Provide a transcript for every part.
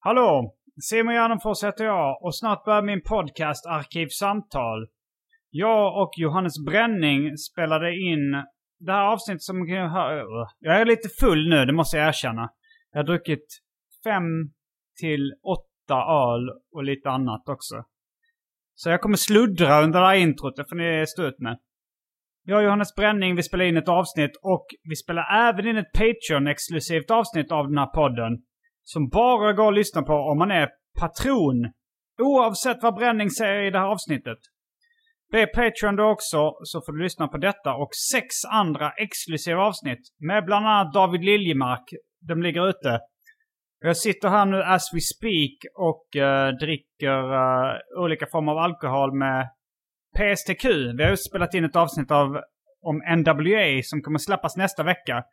Hallå! Simon Gärdenfors heter jag och snart börjar min podcast Arkivsamtal. Jag och Johannes Bränning spelade in det här avsnittet som ni kan höra. Jag är lite full nu, det måste jag erkänna. Jag har druckit fem till åtta öl och lite annat också. Så jag kommer sluddra under det här introt, det får ni stå ut med. Jag och Johannes Bränning, vi spelar in ett avsnitt och vi spelar även in ett Patreon-exklusivt avsnitt av den här podden. Som bara går att lyssna på om man är patron. Oavsett vad Bränning säger i det här avsnittet. Bli Patreon då också så får du lyssna på detta och sex andra exklusiva avsnitt. Med bland annat David Liljemark. De ligger ute. Jag sitter här nu as we speak och eh, dricker eh, olika former av alkohol med PSTQ. Vi har ju spelat in ett avsnitt av, om NWA som kommer släppas nästa vecka.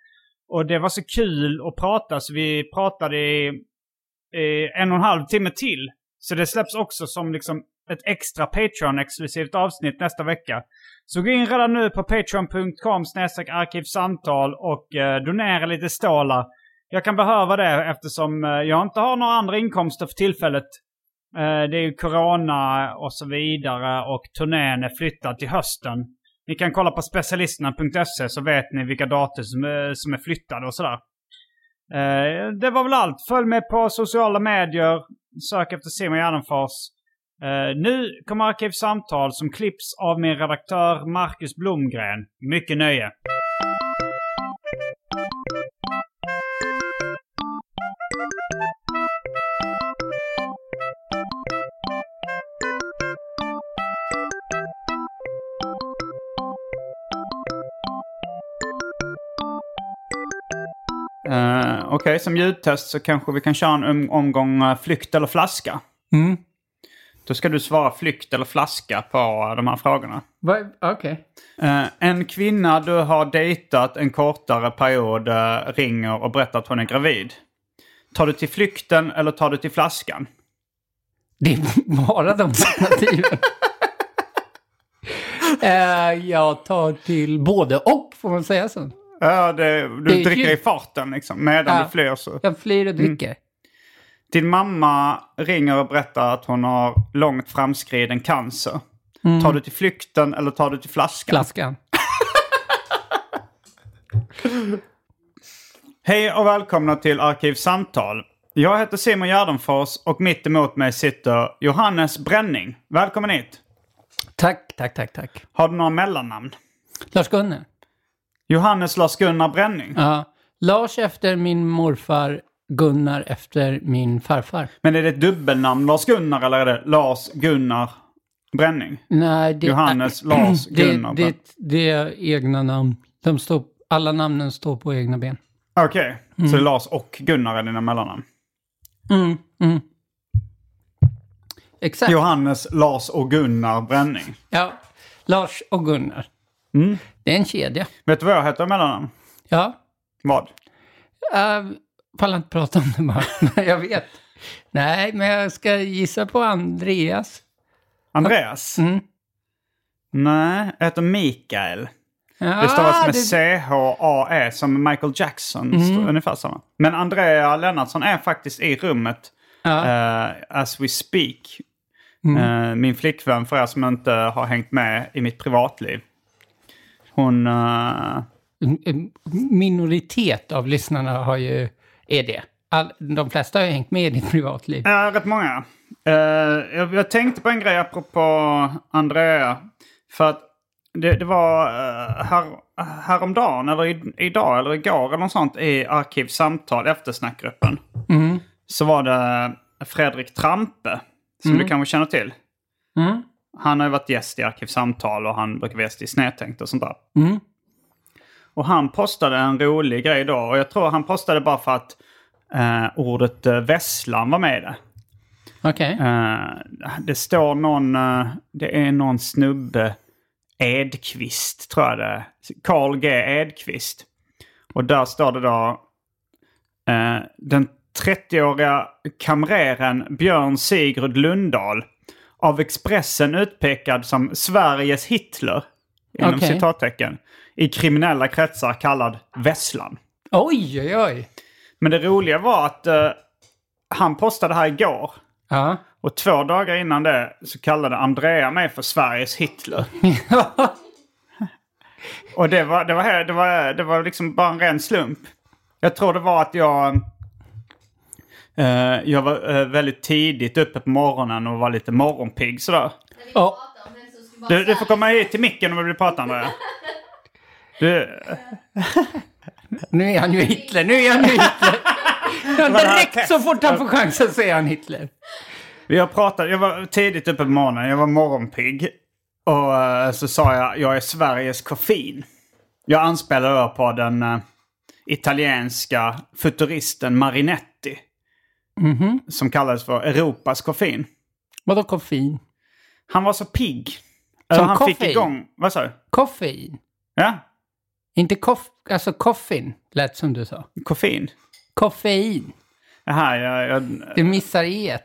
Och det var så kul att prata så vi pratade i, i en och en halv timme till. Så det släpps också som liksom ett extra Patreon-exklusivt avsnitt nästa vecka. Så gå in redan nu på patreon.com arkivsamtal och eh, donera lite stålar. Jag kan behöva det eftersom eh, jag inte har några andra inkomster för tillfället. Eh, det är ju corona och så vidare och turnén är flyttad till hösten. Ni kan kolla på specialisterna.se så vet ni vilka datum som, är- som är flyttade och sådär. Eh, Det var väl allt. Följ mig på sociala medier. Sök efter Simon Gärdenfors. Eh, Nu kommer Arkivsamtal som klipps av min redaktör Marcus Blomgren. Mycket nöje! Eh, Okej, som ljudtest så kanske vi kan köra en om- omgång eh, flykt eller flaska. Mm. Då ska du svara flykt eller flaska på eh, de här frågorna. Va? Okej. Eh, en kvinna du har dejtat en kortare period eh, ringer och berättar att hon är gravid. Tar du till flykten eller tar du till flaskan? Det är bara de alternativen. Eh, jag tar till både och, får man säga så? Ja, det, du Det är dricker ju- i farten liksom, medan Ja. du flyr. Så. Jag Mm. flyr och dricker. Din mamma ringer och berättar att hon har långt framskriden cancer. Tar du till flykten eller tar du till flaskan? Mm. Flaskan. Hej och välkomna till Arkivsamtal. Jag heter Simon Gärdenfors och mitt emot mig sitter Johannes Bränning. Välkommen hit. Tack, tack, tack, tack. Har du några mellannamn? Lars-Gunnar. Johannes Lars-Gunnar Bränning. Ja. Lars efter min morfar, Gunnar efter min farfar. Men är det ett dubbelnamn Lars-Gunnar eller är det Lars-Gunnar Bränning? Nej, det Johannes Lars det, Gunnar. det, det är egna namn. De står, alla namnen står på egna ben. Okej, så det är Lars och Gunnar är dina mellannamn. Mm, mm. Exakt. Johannes, Lars och Gunnar Bränning. Ja. Lars och Gunnar. Mm. Det är en kedja. Vet du vad jag heter i mellannamn? Ja. Vad? Uh, pallar inte prata om det bara. Men jag vet. Nej, men jag ska gissa på Andreas. Andreas? Mm. Nej, jag heter Mikael. Ja, Det stavas med Ah, det- C-H-A-E E, som Michael Jackson. Mm. Ungefär samma. Men Andrea Lennartsson är faktiskt i rummet Ja. eh, as we speak. Eh, min flickvän, för er som inte har hängt med i mitt privatliv. Hon... eh, En- en Minoritet av lyssnarna har ju är det. All, de flesta har ju hängt med i ditt privatliv. Ja, rätt många. Eh, jag, jag tänkte på en grej apropå Andrea. För att det, det var uh, här, häromdagen, eller i, idag, eller igår, eller något sånt i Arkivsamtal, eftersnackgruppen. Mm. Så var det Fredrik Trampe, som du kanske känner till. Mm. Han har ju varit gäst i Arkivsamtal och han brukar vara gäst i Snedtänkt och sånt där. Mm. Och han postade en rolig grej då. Och jag tror han postade bara för att eh, ordet eh, vesslan var med i det. Okej. Eh, det står någon, eh, det är någon snubbe, Edqvist tror jag det är. Carl G Edqvist. Och där står det då eh, den 30-åriga kamreren Björn Sigurd Lundahl av Expressen utpekad som Sveriges Hitler, inom Okej. citattecken, i kriminella kretsar kallad Vesslan. Oj, oj, oj. Men det roliga var att eh, han postade det här igår. Ja. Och två dagar innan det så kallade Andrea mig för Sveriges Hitler. och det var, det, var, här- det, var, det var liksom bara en ren slump. Jag tror det var att jag... eh, jag var eh, väldigt tidigt uppe på morgonen och var lite morgonpigg sådär. Ja. Du, du får komma hit till micken om du vill prata Andrea. Du, Nu är han ju Hitler, nu är han ju Hitler. Ja, direkt test. så fort han får chansen så är han Hitler. Jag pratade, jag var tidigt uppe på morgonen, jag var morgonpigg. Och eh, så sa jag, jag är Sveriges koffein. Jag anspelade då på den eh, italienska futuristen Marinetti. Som kallades för Europas koffein. Vadå koffein? Han var så pigg. Som Som han fick koffein? igång... Vad sa du? Koffein? Ja, Inte koff... Alltså koffein lät som du sa. koffein. Koffein. Jaha, jag, jag, Du missar e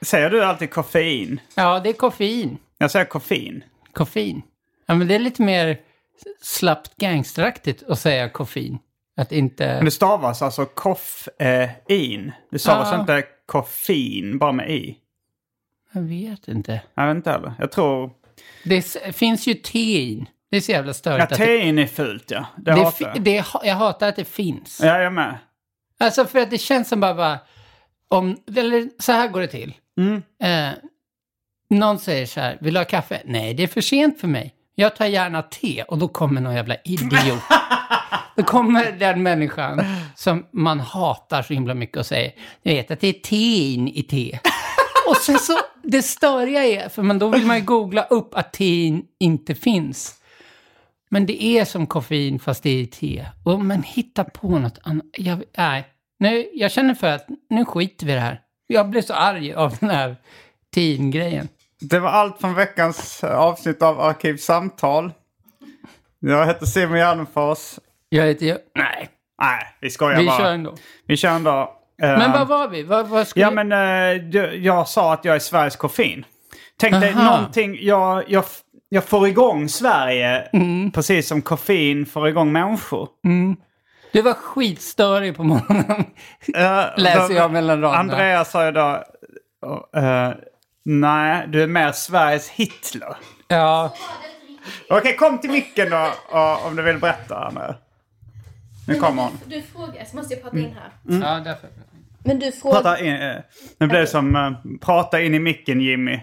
säger du alltid koffein? Ja, det är koffein. Jag säger koffein. Koffein. Ja, men det är lite mer slappt gangsteraktigt att säga koffein. Att inte... Men det stavas alltså koffein. Det stavas Ah. inte koffein, bara med i. Jag vet inte. Jag vet inte heller. Jag tror... Det s- finns ju tein. Det är så jävla störigt. Ja, att det, tein är fult ja. Det, det, hatar fi- jag. det, ha- jag hatar att det finns. Ja, jag med. Alltså för att det känns som bara, bara om, eller så här går det till. Eh, någon säger så här, vill du ha kaffe? Nej, det är för sent för mig. Jag tar gärna te och då kommer någon jävla idiot. då kommer den människan som man hatar så himla mycket och säger, du vet att det är tein i te. och sen så, det störiga är, för men då vill man ju googla upp att tein inte finns. Men det är som koffein fast det är i te. Och, men hitta på något annat. Jag, nej, nu, jag känner för att nu skiter vi i det här. Jag blev så arg av den här teen-grejen. Det var allt från veckans eh, avsnitt av Arkivsamtal. Jag heter Simon Gärdenfors. Jag heter jag, Nej, Nej, vi skojar vi bara. kör ändå. Vi kör ändå. Eh, Men vad var vi? Vad, vad skulle... Ja, men eh, du- jag sa att jag är Sveriges koffein. Tänk dig Aha. någonting, jag, jag, f- jag får igång Sverige Mm. precis som koffein får igång människor. Du var skitstörig på morgonen. Eh, Läser då- jag mellan raderna. Andrea sa ju då... eh, nej, du är mer Sveriges Hitler. Ja, Okej, kom till micken då och, om du vill berätta. Anna. Nu kommer hon. Du frågar, så måste jag prata in här. Mm. ja därför. Men du Prata frågar... in, eh, nu blir det som eh, prata in i micken Jimmy.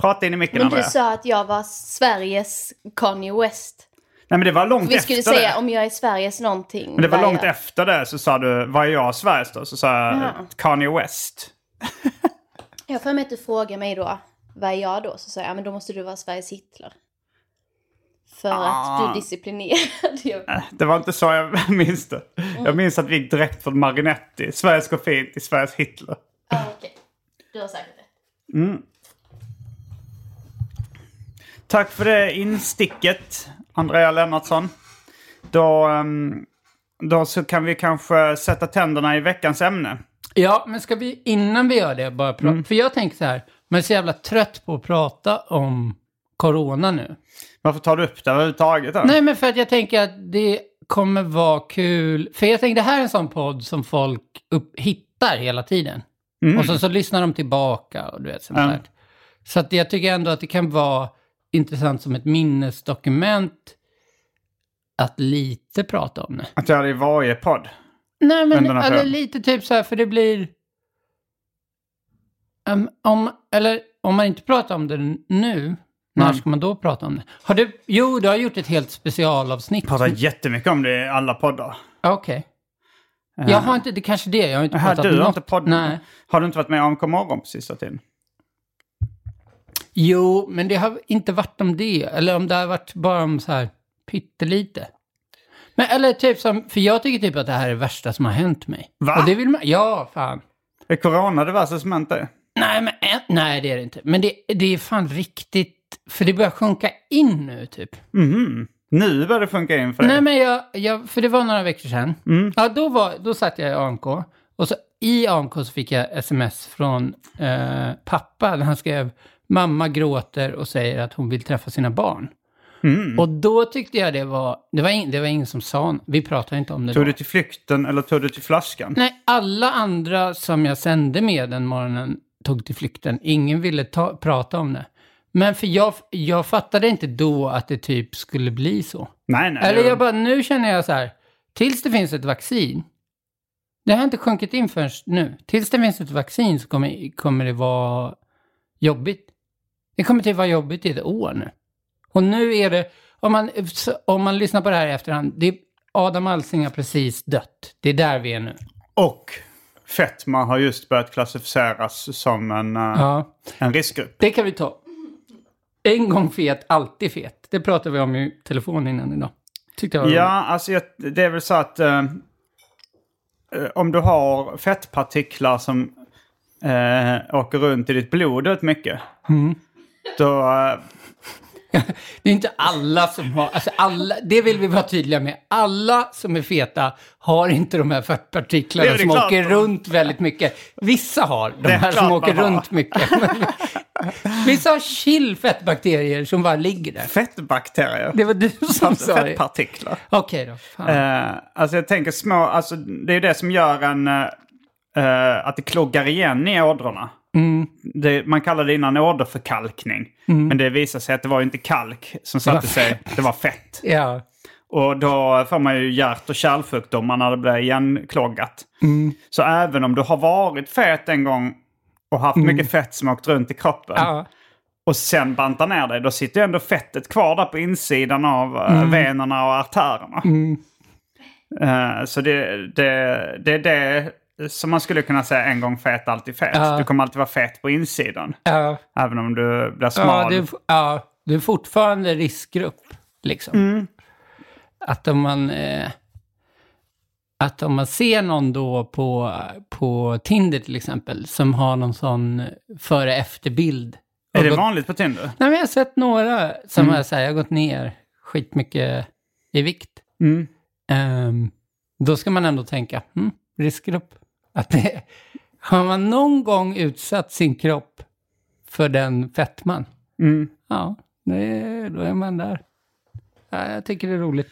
Prata in i micken Men Andrea. du sa att jag var Sveriges Kanye West. Nej men det var långt Vi efter skulle det. säga om jag är Sveriges någonting. Men det var vad är långt jag? efter det så sa du, vad är jag Sveriges då? Så sa jag Jaha. Kanye West. Jag har för mig att du frågar mig då, vad är jag då? Så sa jag, "Ja, men då måste du vara Sveriges Hitler. För att du är disciplinerad ju. Det var inte så jag minns det. Jag minns att vi gick direkt från Marinetti, Sveriges koffein till Sveriges Hitler. Ja, okej. Du har säkert det. Tack för det insticket, Andrea Lennartsson. Då, ehm, då så kan vi kanske sätta tänderna i veckans ämne. Ja, men ska vi innan vi gör det bara prata? Mm. För jag tänker så här, man är så jävla trött på att prata om corona nu. Varför tar du upp det överhuvudtaget? Då? Nej, men för att jag tänker att det kommer vara kul. För jag tänker, det här är en sån podd som folk upp, hittar hela tiden. Och så, så lyssnar de tillbaka och du vet sånt Ja. där. Så att jag tycker ändå att det kan vara intressant som ett minnesdokument att lite prata om det. Att göra det i varje podd. Nej, men Vänderna eller fram. lite typ så här, för det blir... Ehm, om, eller om man inte pratar om det nu, när ska man då prata om det? Har du, jo, du har gjort ett helt specialavsnitt. Pratar jättemycket om det i alla poddar. Okej. Jag har inte, det är kanske det, jag har inte Här, pratat Eh, du har något. inte podd... Nej. Har du inte varit med om Komorgon på sista tiden? Jo, men det har inte varit om det. Eller om det har varit bara om så här pyttelite. Men eller typ som, för jag tycker typ att det här är det värsta som har hänt mig. Va? Och det vill man, ja fan. Är corona det värsta som hänt dig? Nej, men, eh, nej det är det inte. Men det, det är fan riktigt, för det börjar sjunka in nu typ. Mhm. Nu börjar det Mm. funka in för dig. Nej men jag, jag, för det var några veckor sedan. Ja, då, var, då satt jag i AMK. Och så i AMK så fick jag sms från eh, pappa där han skrev mamma gråter och säger att hon vill träffa sina barn. Mm. Och då tyckte jag det var, det var, in, det var ingen som sa något. vi pratade inte om det Tog då. du till flykten eller tog du till flaskan? Nej, alla andra som jag sände med den morgonen tog till flykten. Ingen ville ta, prata om det. Men för jag, jag fattade inte då att det typ skulle bli så. Nej, nej. Eller det- jag bara, nu känner jag så här, tills det finns ett vaccin, det har inte sjunkit in förrän nu, tills det finns ett vaccin så kommer, kommer det vara jobbigt. Det kommer till vara jobbigt i ett år nu. Och nu är det, om man, om man lyssnar på det här i efterhand, det är, Adam Alsing har precis dött. Det är där vi är nu. Och fetma har just börjat klassificeras som en, eh, Ja. en riskgrupp. Det kan vi ta. En gång fet, alltid fet. Det pratade vi om i telefon innan idag. Tyckte jag var Ja, roligt. alltså jag, det är väl så att eh, eh, om du har fettpartiklar som eh, åker runt i ditt blod rätt mycket. Då, eh, Det är inte alla som har, alltså alla, det vill vi vara tydliga med. Alla som är feta har inte de här Det är fettpartiklarna väl som klart. åker runt väldigt mycket. Vissa har de Det är här klart som åker man har. runt mycket. Men Vissa har chill fettbakterier som bara ligger där. fettbakterier. Det var du som sa det. Alltså, Fettpartiklar. Okej då. Fan. Eh, alltså jag tänker små, alltså det är ju det som gör en, eh, eh, att det kloggar igen i ådrorna. Det, man kallade det innan åderförkalkning. Men det visade sig att det var ju inte kalk som satte sig, det var fett. Ja. Och då får man ju hjärt och kärlsjukdomar när det blir igenkloggat. Så även om du har varit fet en gång och haft mycket fett som åkt runt i kroppen Ja. och sen bantar ner dig, då sitter ju ändå fettet kvar där på insidan av eh, venerna och artärerna. Eh, så det, det, det är det som man skulle kunna säga en gång fet, alltid fet. Du kommer alltid vara fet på insidan. Ja. Även om du blir smal. Ja, du, ja, du är fortfarande riskgrupp, liksom. Att om man... Eh, att om man ser någon då på, på Tinder till exempel, som har någon sån före efterbild. Är det vanligt på Tinder? Nej, men jag har sett några som har, så här, jag har gått ner skitmycket i vikt. Ehm, då ska man ändå tänka, mm, riskgrupp. Att det, har man någon gång utsatt sin kropp för den fettman, ja, det, då är man där. Ja, jag tycker det är roligt.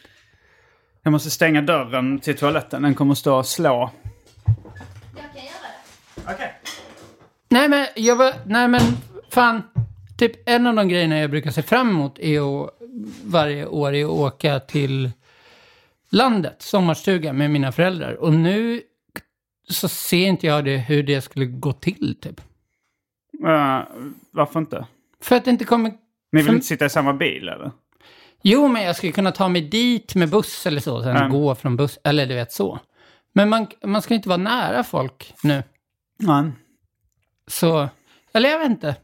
Jag måste stänga dörren till toaletten. Den kommer stå och slå. Jag kan göra det. Okej. Nej men, jag var, nej men fan. Typ en av de grejerna jag brukar se fram emot är att varje år är att åka till landet, sommarstuga med mina föräldrar. Och nu så ser inte jag det, hur det skulle gå till typ. Eh, varför inte? För att det inte kommer... Ni vill För- inte sitta i samma bil eller? Jo, men jag skulle kunna ta mig dit med buss eller så, sen Mm. gå från buss, eller du vet så. Men man, man ska inte vara nära folk nu. Nej. Så, eller jag vet inte.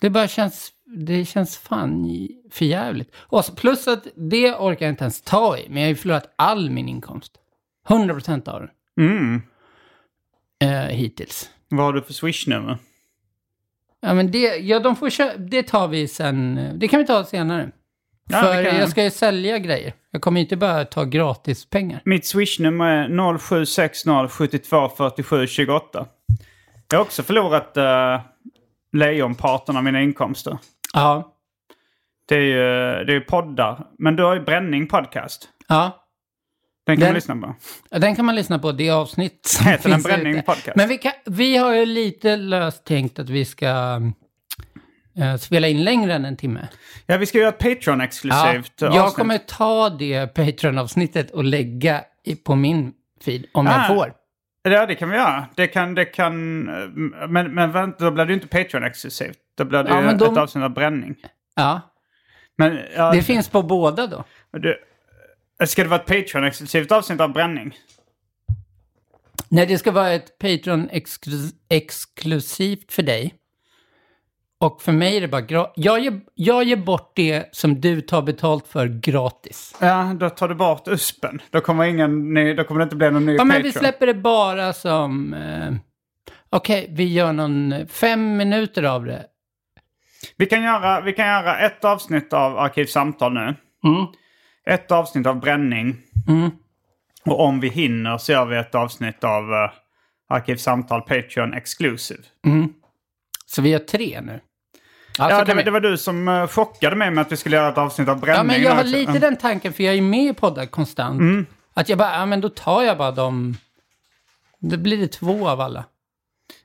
Det bara känns, det känns fan i- för jävligt. Och så, plus att det orkar jag inte ens ta i, men jag har ju förlorat all min inkomst. 100% av den Mm. eh, hittills. Vad har du för swishnummer? Ja, men det, ja, de får kö- det tar vi sen, eh, det kan vi ta senare. Ja, För vi kan- jag ska ju sälja grejer. Jag kommer ju inte bara ta gratis pengar. Mitt swishnummer är 0760-724728. Jag har också förlorat uh, lejonparten av mina inkomster. Ja, Det är ju det är ju poddar. Men du har ju Bränning Podcast. ja. Den kan Den- man lyssna på. Ja, Den kan man lyssna på, det avsnitt som Heter den finns Bränning ute. Podcast? Men vi, kan, vi har ju lite löst tänkt att vi ska eh, spela in längre än en timme. Ja, vi ska göra ett Ja, Patreon-exklusivt jag avsnitt. kommer ta det Patreon-avsnittet och lägga i, på min feed om jag Ah. får. Ja, det kan vi göra. Det kan, det kan... Men, men vänta, då blir det ju inte Patreon-exklusivt. Då blir det Ja, ju men de- ett avsnitt av bränning. Ja, Men ja, det finns på båda då. du... Ska det vara ett Patreon-exklusivt avsnitt av bränning? Nej, det ska vara ett Patreon exklus- exklusivt för dig. Och för mig är det bara gratis. Jag ger, jag ger bort det som du tar betalt för gratis. Ja, då tar du bort USPen. Då kommer, ingen ny, då kommer det inte bli någon ny Ja, men Patreon. vi släpper det bara som... Eh, Okej, vi gör någon eh, fem minuter av det. Vi kan, göra, vi kan göra ett avsnitt av Arkivsamtal nu. Mm. Ett avsnitt av bränning. Och om vi hinner så gör vi ett avsnitt av uh, Arkivsamtal Patreon Exclusive. Så vi gör tre nu. så Ja, kan det, vi- det var du som eh, chockade mig med att vi skulle göra ett avsnitt av bränning. Ja, men jag har också. Mm. lite den tanken, för jag är ju med i poddar konstant. Att jag bara, ja men då tar jag bara dem. Då blir det två av alla.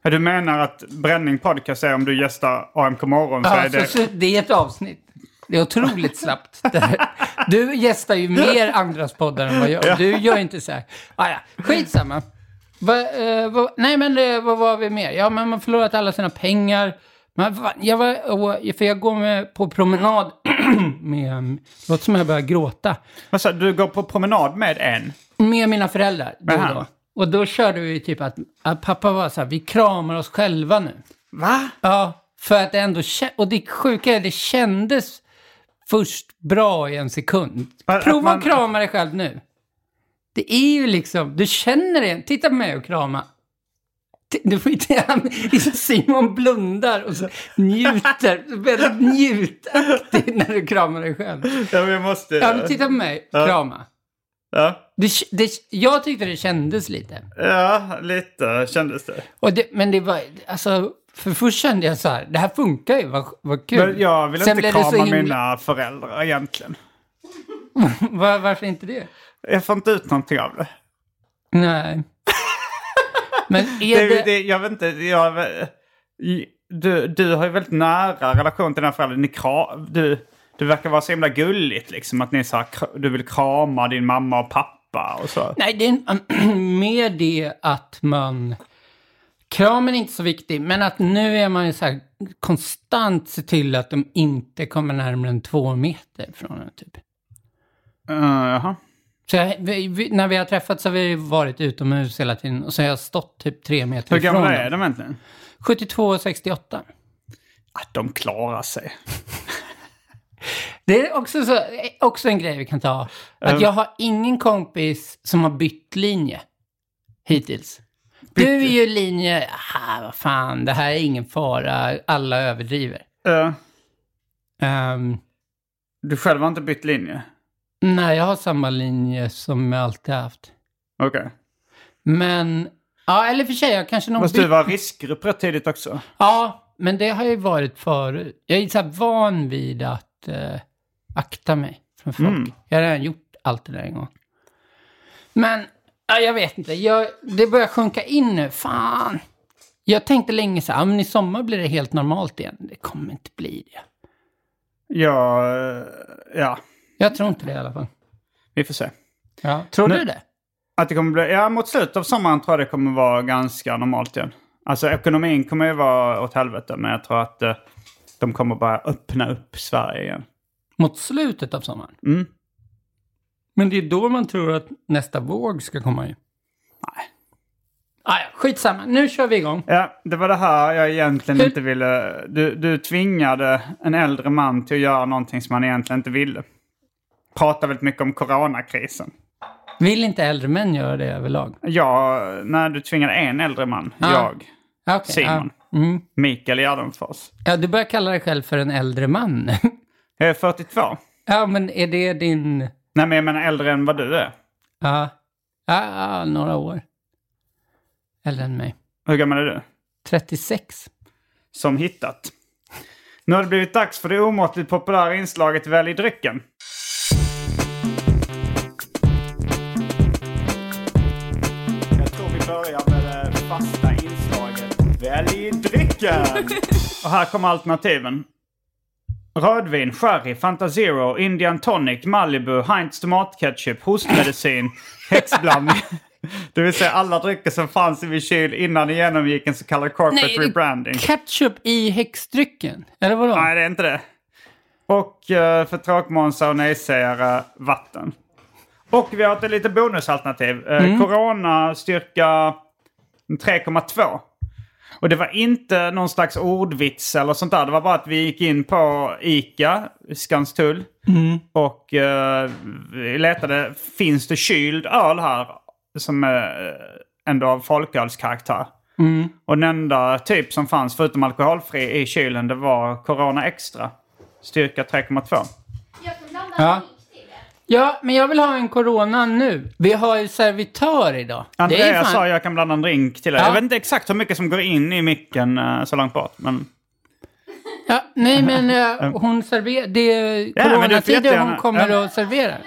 Ja, Du menar att bränning podcast är om du gästar AMK morgon så Ja, är det... det... Så, så det är ett avsnitt. Det är otroligt slappt. det här. Du gästar ju mer andras poddar än vad jag gör. Du gör inte så här. Ah, ja. Skitsamma. Va, eh, va, nej, men eh, vad var vi mer? Ja, men man förlorat alla sina pengar. Men, va, jag var, och, för jag går med på promenad med... Låter som jag börjar gråta. Vad sa du? du går på promenad med en? Med mina föräldrar. Då och, Aha. då. och då körde vi typ att, att pappa var så här, vi kramar oss själva nu. Va? Ja, för att det ändå kä- Och det sjuka är, det kändes först bra i en sekund. Men att Prova man- att krama dig själv nu. Det är ju liksom, du känner det. Titta på mig och krama. T- Du får inte, han- Simon blundar och så njuter, väldigt njutaktig när du kramar dig själv. Ja, men jag måste... Ja, men titta på mig, krama. ja. Det, k- det, jag tyckte det kändes lite. ja lite kändes det. Och det, men det var, alltså, för först kände jag så här, det här funkar ju, vad, vad kul. Men jag vill inte blev det så krama himla- mina föräldrar egentligen. Var, varför inte det? Jag får inte ut någonting av det. Nej. Men det, är det... det... jag vet inte, jag... eh, Du, du har ju väldigt nära relation till den här föräldern. Ni kra, du, du verkar vara så himla gulligt liksom att ni så här, kra- du vill krama din mamma och pappa och så. Nej, det är en- mer det att man... Kramen är inte så viktig, men att nu är man ju så här konstant se till att de inte kommer närmare än två meter från en typ. Eh, Jaha. Så jag, vi, vi, när vi har träffats har vi varit utomhus hela tiden och så har jag stått typ tre meter Hur ifrån gamla är dem. de egentligen? 72 och 68. Att de klarar sig. Det är också, så, också en grej vi kan ta. Att jag har ingen kompis som har bytt linje hittills. Du är ju linje, ah, vad fan, det här är ingen fara, alla överdriver. Eh, Um, du själv har inte bytt linje? nej, jag har samma linje som jag alltid haft. Okej. Men, ja, eller för sig, jag kanske någon Fast du bytt. var riskgrupp rätt tidigt också. Ja, men det har ju varit förut. Jag är så här van vid att eh, akta mig från folk. Jag har redan gjort allt det där en gång. Men, ja, jag vet inte. Jag, det börjar sjunka in nu. Fan. Jag tänkte länge så här, ja, men i sommar blir det helt normalt igen. Det kommer inte bli det. Ja, eh, ja, Jag tror inte det i alla fall. vi får se. Ja. Tror Men- du det? Att det kommer bli, ja, mot slutet av sommaren tror jag det kommer vara ganska normalt igen. Alltså ekonomin kommer ju vara åt helvete, men jag tror att eh, de kommer bara öppna upp Sverige igen. Mot slutet av sommaren? Mm. Men det är då man tror att nästa våg ska komma ju. Nej. Ah, ja, skitsamma, nu kör vi igång. Ja, det var det här jag egentligen Hur- inte ville. Du, du tvingade en äldre man till att göra någonting som han egentligen inte ville. Pratar väldigt mycket om coronakrisen. Vill inte äldre män göra det överlag? Ja, när du tvingade en äldre man, Ah. jag, Ja, okej, Simon. Ja. Mm. Mikael Gärdenfors. ja, du börjar kalla dig själv för en äldre man. Jag är 42. ja, men är det din... Nej, men jag menar äldre än vad du är. Ja, ja, ja några år. Äldre än mig. Hur gammal är du? 36. som hittat. Nu har det blivit dags för det omåttligt populära inslaget Välj drycken. Jag tror vi börjar med det fasta inslaget Välj drycken! Och här kommer alternativen. Rödvin, sherry, Fanta Zero, Indian tonic, Malibu, Heinz tomatketchup, hostmedicin, häxblandning, Det vill säga alla drycker som fanns i min kyl innan det genomgick en så kallad corporate Nej, rebranding. ketchup i häxdrycken. Eller vadå? Nej, det är inte det. Och eh, för tråkmånsar och nejsägare, vatten. Och vi har ett lite bonusalternativ. Eh, Corona styrka 3,2. Och det var inte någon slags ordvits eller sånt där. Det var bara att vi gick in på ICA, Skanstull. Och eh, vi letade, finns det kyld öl här? Som är eh, ändå av folkölskaraktär. Och den enda typ som fanns förutom alkoholfri i kylen det var Corona Extra. Styrka 3,2. Ja. ja, men jag vill ha en corona nu. Vi har ju servitör idag. det är Andrea fan... sa jag kan blanda en drink till det. Ja. Jag vet inte exakt hur mycket som går in i micken eh, så långt bort. Men... ja, nej, men eh, hon serverar. Det är men du får coronatider jättegärna- hon kommer Ja. och serverar.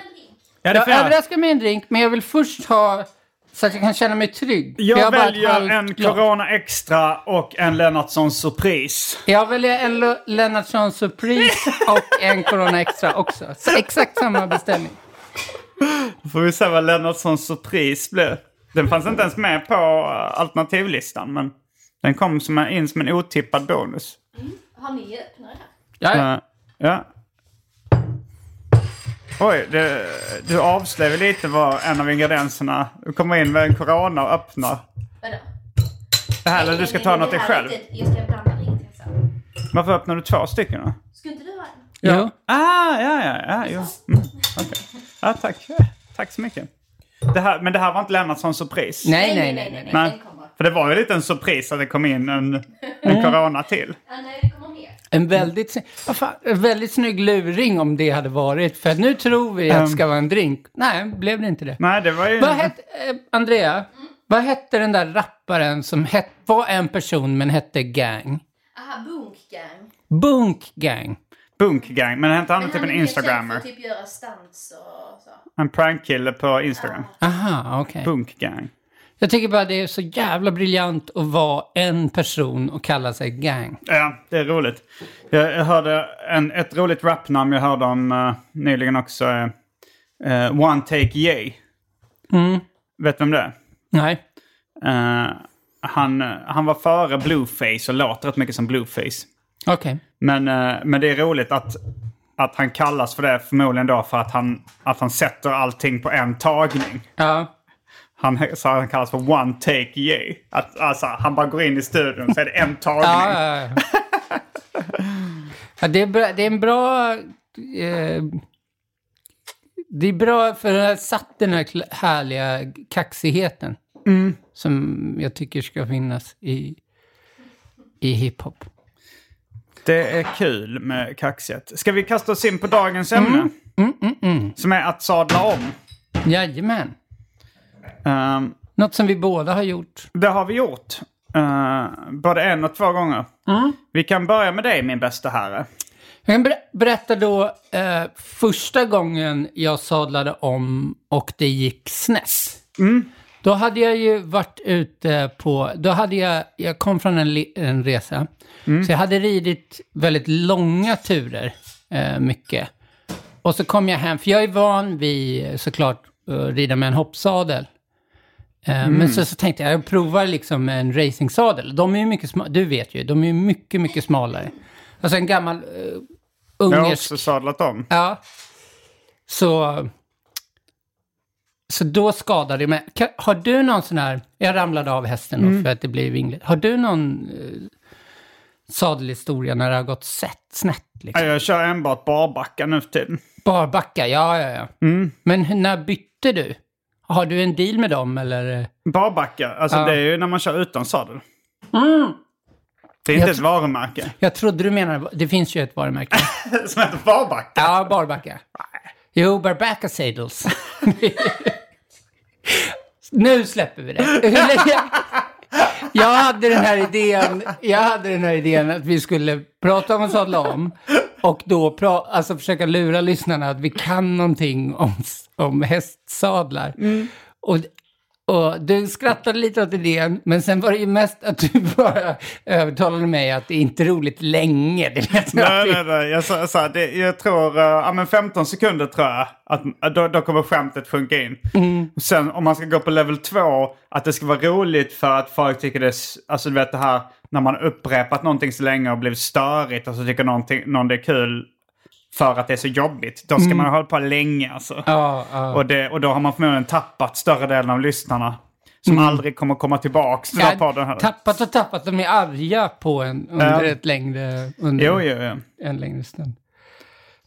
Ja, det Jag får jag. överraskar med en drink, men jag vill först ha så att jag kan känna mig trygg. jag, För har bara ett väljer halvt en glas. Corona Extra och en Lennartsson Surprise. Jag väljer en Lo- Lennartsson Surprise och en Corona Extra också. Så exakt samma beställning. Då får vi se vad Lennartsson Surprise blir. Den fanns inte ens med på eh, alternativlistan men den kom som en, in som en otippad bonus. Har ni öppnare Ja, här? ja. Eh, ja. Oj, det, du avslöjar lite vad en av ingredienserna... Du kommer in med en corona och öppnar. Vadå? Det här, eller du ska ta något dig själv. Jag ska blanda drink sen. Varför öppnar du två stycken då? Ska inte du ha en? Jo. Ah, ja, ja, ja, jo. Mm, okej. Ja, tack. Tack så mycket. Det här, men det här var inte lämnat som surpris? Nej, nej, nej. nej, nej. Nej. Den kommer. För det var ju lite en surpris att det kom in en, en corona till. Ja, nej, det kommer mer. En väldigt, sny- vad fan, en väldigt snygg luring om det hade varit. För att nu tror vi att det ska vara en drink. Nej, blev det inte det. Ehm. Nej, det var ju... Vad hette, eh, Andrea, vad hette den där rapparen som het, var en person men hette Gang? Aha, bunkgang. Bunk Gang. Bunkgang. Men hette han Men inte typ han en är mer känd för instagrammer? att typ göra stunts och så. En prankkille på Instagram. Aha, okej. Bunkgang. Jag tycker bara det är så jävla briljant att vara en person och kalla sig Gang. Ja, det är roligt. Jag jag hörde en, ett roligt rapnamn jag hörde om eh, nyligen också. är, eh, One Take Yay. Mm. Vet du vem det är? Nej. Eh, han, han var före Blueface och låter rätt mycket som Blueface. Okej. Men, eh, men det är roligt att, att han kallas för det förmodligen då för att han, att han sätter allting på en tagning. Ja. Han, så han kallas för One Take Yay. Att, alltså, han bara går in i studion så är det en tagning. Ja, ja, ja. ja det, är bra, det är en bra... Eh, det är bra för den här, satt den här kl- härliga kaxigheten. Som jag tycker ska finnas i, i hiphop. Det är kul med kaxet. Ska vi kasta oss in på dagens Mm. ämne? Som är att sadla om. Jajamän. Ehm, Något som vi båda har gjort. det har vi gjort. eh, både en och två gånger. Mm. Vi kan börja med dig min bästa herre. Jag kan ber- berätta då eh, första gången jag sadlade om och det gick snett. Då hade jag ju varit ute på, då hade jag, jag kom från en, li- en resa. Så jag hade ridit väldigt långa turer, eh, mycket. Och så kom jag hem, för jag är van vid eh, såklart att rida med en hoppsadel. Eh, Men så, så tänkte jag, jag provar liksom en racingsadel. De är ju mycket smalare, du vet ju, de är ju mycket, mycket smalare. Alltså en gammal eh, Jag har ungersk också sadlat om. Ja. Så, så då skadade jag mig. Kan- Har du någon sån här, jag ramlade av hästen då för att det blev vingligt. Har du någon eh, sadelhistoria när det har gått sett, snett? Liksom? Ja, Jag kör enbart barbacka nu för tiden. Barbacka, ja ja ja. Men hur- när bytte du? Har du en deal med dem eller? Barbacka, alltså det är ju när man kör utan sadel. Mm. Det är inte ett varumärke Jag trodde du menade, det finns ju ett varumärke. som heter Barbacka. Ja, Barbacka. Jo, Barbacka Sadels. nu släpper vi det. Hur länge- Jag hade, den här idén, jag hade den här idén att vi skulle prata om att sadla om och då pra, alltså försöka lura Mm. lyssnarna att vi kan någonting om, s- om hästsadlar. Och Och du skrattade lite åt idén, men sen var det ju mest att du bara övertalade mig att det är inte är roligt länge. Det vet jag. Nej, nej, nej. Jag, sa, jag sa, det, jag tror, eh, ja men 15 sekunder tror jag, att, eh, då, då kommer skämtet funka in. Mm. Och sen om man ska gå på level 2, att det ska vara roligt för att folk tycker det är, s- alltså du vet det här när man har upprepat någonting så länge och blivit störigt och så tycker någonting, någon det är kul för att det är så jobbigt. Då ska man hålla på länge alltså. Mm. Ja, ja. Och, det, och då har man förmodligen tappat större delen av lyssnarna. Som Mm. aldrig kommer komma tillbaka till den här Jag podden har heller. tappat och tappat, de är arga på en under Ja. ett längre, under Jo, jo, jo. en längre stund.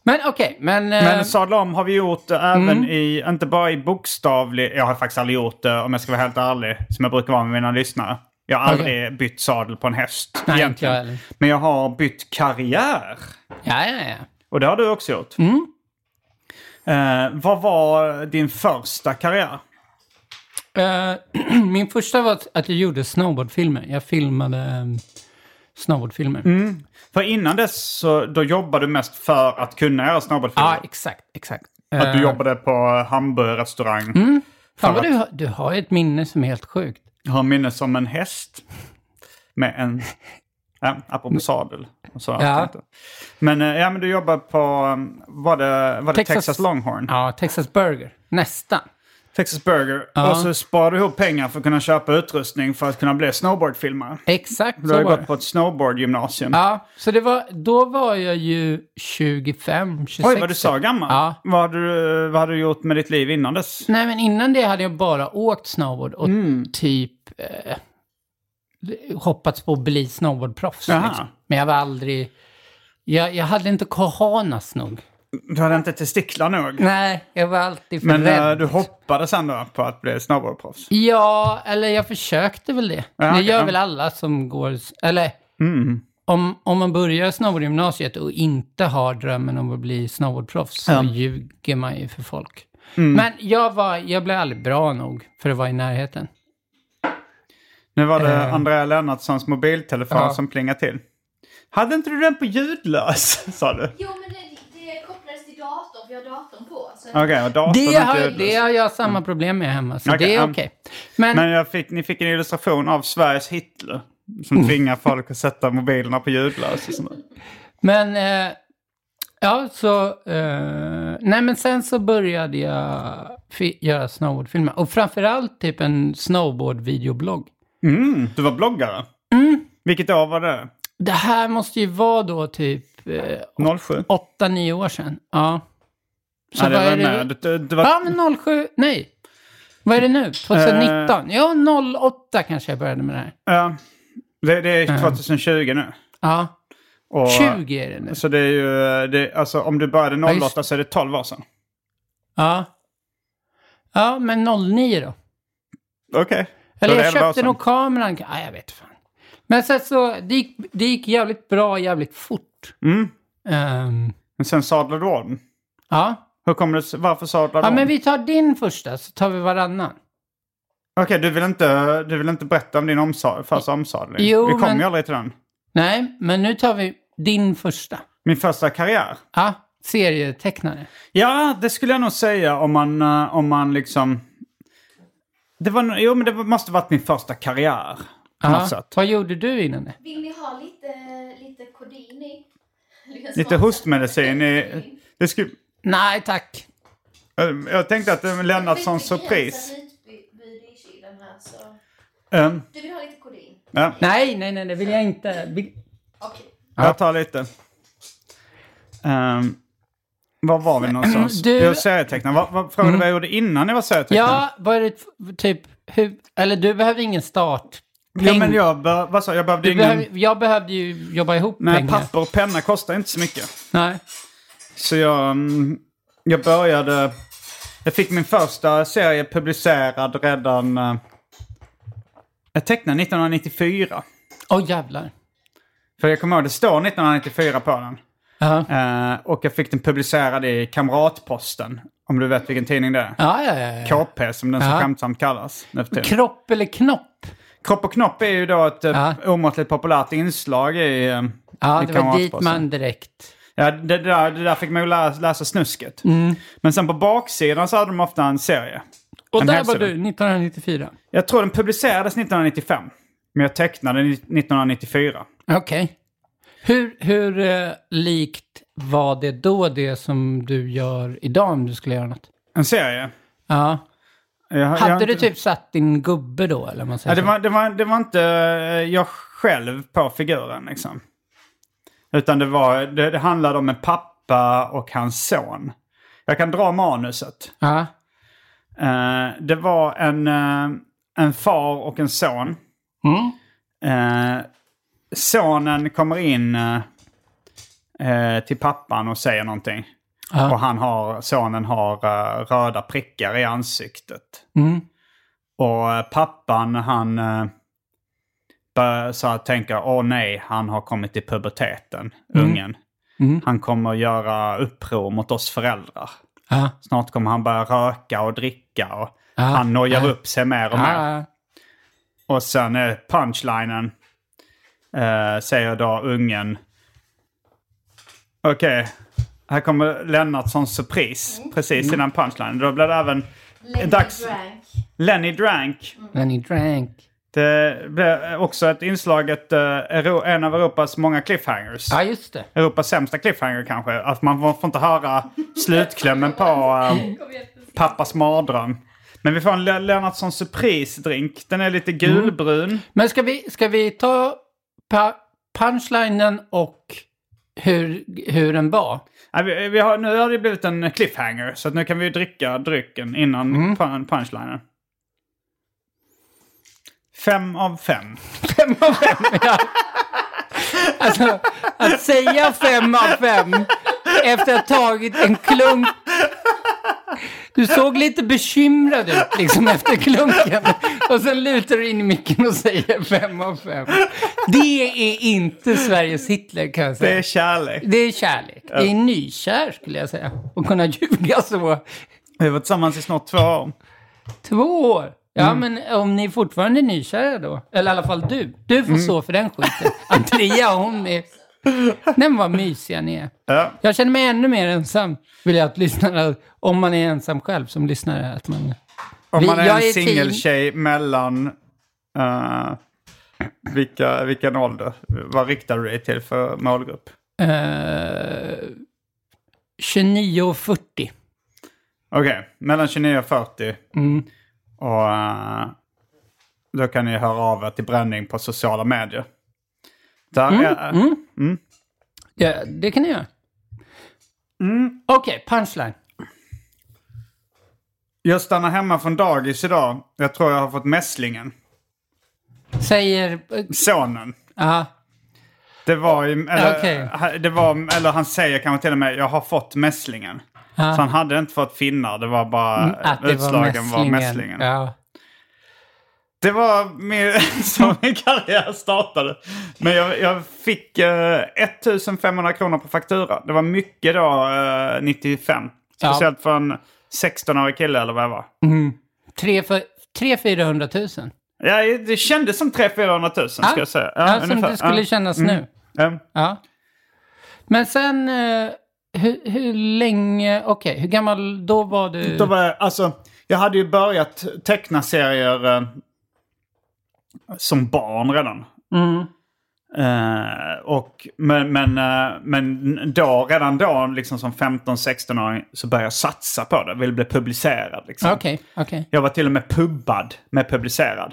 Men okej, men... eh, Men sadla om har vi gjort det även Mm. i, inte bara i bokstavlig, jag har faktiskt aldrig gjort det om jag ska vara helt ärlig, som jag brukar vara med mina lyssnare. Jag har aldrig bytt sadel på en häst. Nej, inte egentligen. jag heller. Men jag har bytt karriär. Ja, ja, ja. Och det har du också gjort. Mm. Eh, vad var din första karriär? Eh, Min första var att- att jag gjorde snowboardfilmer. Jag filmade ehm, snowboardfilmer. Mm. För innan dess så då jobbade du mest för att kunna göra snowboardfilmer. Ja, exakt, exakt. Eh, Att du jobbade på hamburgerrestaurang. Fan vad du, har- du har ju ett minne som är helt sjukt. Jag har minne som en häst. Med en... Ja, apropå sadel. Och så, Mm. Ja. tänkte jag. Men, eh, ja, men du jobbar på... um, Var det, var det Texas, Texas- Longhorn? Ja, Texas Burger. Nästan. Texas Burger. Och så sparar du ihop pengar för att kunna köpa utrustning för att kunna bli snowboardfilmare. Exakt Du har så ju var gått det. på ett snowboardgymnasium. Ja, så det var, då var jag ju 25, 26. Oj, vad du sa gammal. Ja. Vad, hade du, vad hade du gjort med ditt liv innan dess? Nej, men innan det hade jag bara åkt snowboard och Mm. typ eh, hoppats på att bli snowboardproffs. Jaha. Liksom. Men jag var aldrig... Jag, jag hade inte kohanas nog. Du hade inte testiklar nog. Mm. Nej, jag var alltid för Men eh, rädd. du hoppades ändå på att bli snowboardproffs. Ja, eller jag försökte väl det. Ja, det okej, gör ja. Mm. väl alla som går... Eller, om, om man börjar snowboardgymnasiet och inte har drömmen om att bli snowboardproffs så ljuger man ju för folk. Mm. Men jag, var, jag blev aldrig bra nog för att vara i närheten. Nu var det Andrea Lennartssons mobiltelefon Ja. som plingade till. Hade inte du den på ljudlös, sa du? Jo, men det, det kopplades till datorn, för jag har datorn på. Så Okej, och datorn Det inte har, ljudlös. det har jag samma problem med hemma, så Mm. Okej, det är um, okej. Men, Men jag fick, ni fick en illustration av Sveriges Hitler. Som tvingar folk att sätta mobilerna på ljudlös och sånt där. men eh, ja, så... Eh, nej, men sen så började jag fi- göra snowboardfilmer. Och framförallt typ en snowboardvideoblogg. Mm, du var bloggare? Mm. Vilket år var det? Det här måste ju vara då typ eh, 07? 8-9 år sedan. Ja. Så Ja, det Eh. vad var är det? med. Du, du, du var... Ja, men 07, nej. Vad är det nu? 2019? Ja, 08 kanske jag började med det här. Ja, det, det är 2020 nu. Ja, Och, 20 är det nu. Så det är ju, det, alltså om du började just- 08 så är det 12 år sedan. Ja. Ja, men 09 då? Okej. Så Eller det är 11 jag år köpte sedan. nog kameran. Ja, jag vet fan. Men sen så, det gick, det gick jävligt bra jävligt fort. Ehm, Men sen sadlade du om. ja. Hur kommer det, varför sadlade du ja, om? men vi tar din första så tar vi varannan. Okej, du vill inte, du vill inte berätta om din omsa- första omsadling? Jo, Vi kom men- ju aldrig till den. Nej, men nu tar vi din första. Min första karriär? Ja, serietecknare. Ja, det skulle jag nog säga om man, eh, om man liksom... Det var, nog- jo, men det var- måste varit min första karriär. På Ja. något sätt. Vad gjorde du innan det? vill ni ha lite, lite kodin i? Lite hostmedicin i... Det skulle, Nej, tack. eh, jag tänkte att det var Lennartssons surpris. Eh, Du vill ha lite kodin? ja, Nej, nej, nej, det vill jag inte. Vi- Okej. jag tar lite. Eh, var var vi någonstans? Du- Mm. Jag var serietecknare. Vad- vad- Frågade du vad jag gjorde innan jag var serietecknare? Ja, vad är det f- typ, hur, eller du behövde ingen start. Ja, men jag, be, vad sa, jag? jag behövde Du ingen... behöv, jag behövde ju jobba ihop Nej, pengar. papper och penna kostar inte så mycket. Nej. Så jag, mm, jag började... Jag fick min första serie publicerad redan... eh, Jag tecknade 1994. Åh jävlar. För jag kommer ihåg, det står 1994 på den. Ja, Eh, och jag fick den publicerad i Kamratposten. Om du vet vilken tidning det är. ja, ja. ja, ja. KP som den så skämtsamt kallas. nu för tiden. Kropp eller knopp? Kropp och knopp är ju då ett ja. Ja. omåttligt populärt inslag i, eh, i Ja, det var dit Kamratposten. man direkt. Ja, det där, det där fick man ju läsa, läsa snusket. Men sen på baksidan så hade de ofta en serie. Och En där var hälsodom. du 1994. Jag tror den publicerades 1995. Men jag tecknade den 1994. Okej. Hur, hur eh, likt var det då det som du gör idag om du skulle göra något? En serie. Ja. Jag, jag har Hade du inte- typ satt din gubbe då eller vad man säger Ja, det, så? var, det, var, det var inte eh, jag själv på figuren liksom. Utan det, var, det, det handlade om en pappa och hans son. Jag kan dra manuset. Ja. Eh, det var en, eh, en far och en son. Mm. Eh, sonen kommer in eh, eh, till pappan och säger någonting. Ja. Och han har, sonen har eh, röda prickar i ansiktet. Mm. Och eh, pappan han eh, bör- så att tänka, åh nej, han har kommit till puberteten, Mm. ungen. Han kommer göra uppror mot oss föräldrar. Ja. Snart kommer han börja röka och dricka och Ja. han nojar Ja. upp sig mer och mer. Ja. Och sen är punchlinen. Eh, säger då ungen. Okej, här kommer Lennart som surpris. Precis innan punchlinen. Då blir det även Lenny Dags. Drank. Lenny Drank. When he drank. Det blir också ett inslag, ett, eh, Euro- en av Europas många cliffhangers. Ja, just det. Europas sämsta cliffhanger kanske. Att man får får inte höra slutklämmen på eh, pappas mardröm. Men vi får en Le- Lennartsson surprisdrink. Den är lite gulbrun. Men ska vi, ska vi ta pa- punchlinen och hur, hur den var? Ja, vi, vi har, nu har det blivit en cliffhanger, så att nu kan vi ju dricka drycken innan Mm. pun- punchlinen. Fem av fem. Fem av fem, ja. Alltså, att säga fem av fem efter att ha tagit en klunk. Du såg lite bekymrad ut liksom efter klunken. Och sen lutar du in i micken och säger fem av fem. Det är inte Sveriges Hitler kan jag Det är säga. kärlek. Det är kärlek. Det är nykär skulle jag säga. Och kunna ljuga så. Vi har varit tillsammans i snart två år. Två år! Ja, Mm. men om ni fortfarande är nykära då. Eller i alla fall du. Du får Mm. stå för den skiten. Andrea, hon är... Den vad mysiga ni är. Ja. Jag känner mig ännu mer ensam, vill jag att lyssnare, om man är ensam själv som lyssnare, att man... Om Vi- man är jag en är team- singeltjej mellan... eh, vilka, vilken ålder? Vad riktar du dig till för målgrupp? Eh, 29 och 40. Okej, mellan 29 och 40. Mm. Och eh, då kan ni höra av er till bränning på sociala medier. Där Mm, är, Ja, det kan ni göra. Mm. Okej, punchline. Jag stannar hemma från dagis idag. Jag tror jag har fått mässlingen. Säger... eh, Sonen. Ja, Det var ju, eller, Okej. ha- det var, eller han säger kanske till och med, jag har fått mässlingen. Så han hade inte fått finnar, det var bara Mm, att det var utslagen mässlingen. var mässlingen. Ja. Det var min, så min karriär startade. Men jag, jag fick eh, 1500 kronor på faktura. Det var mycket då, eh, 95. Ja. Speciellt för en 16-årig kille eller vad jag var. 300-400 000. Ja, det kändes som 300-400 000 ska jag säga. Ja, som ungefär. det Ja. skulle Mm. kännas nu. Ja. Ja. Men sen, eh, hur, hur länge, okej, hur gammal, då var du? Då var jag, alltså, jag hade ju börjat teckna serier eh, som barn redan. Eh, och, men, men, eh, men då, redan då, liksom som 15-16-åring, så började jag satsa på det. Ville bli publicerad. Liksom. Okej, okej. Jag var till och med pubbad med publicerad.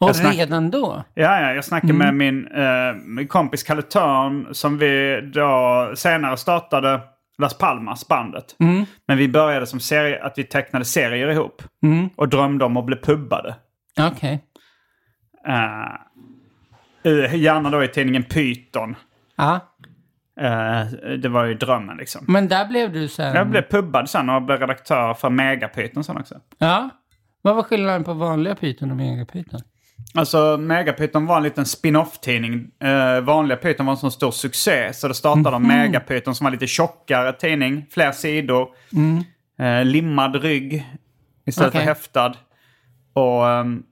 Och snack- redan då? Ja, ja, jag snackade med min, eh, min kompis Kalle Törn som vi då senare startade Las Palmas bandet. Men vi började som serie, att vi tecknade serier ihop och drömde om att bli pubbade. Okej. Eh, gärna då i tidningen Python. Ja, Eh, det var ju drömmen liksom. men där blev du sen? Jag blev pubbad sen och blev redaktör för Megapyton sen också. Ja. Vad var skillnaden på vanliga pyton och megapyton? Alltså Megapyton var en liten spin-off-tidning. Eh, vanliga Python var en sån stor succé så det startade mm Megapyton som var lite tjockare tidning, fler sidor, eh, limmad rygg istället Okej. för häftad. Och, ehm,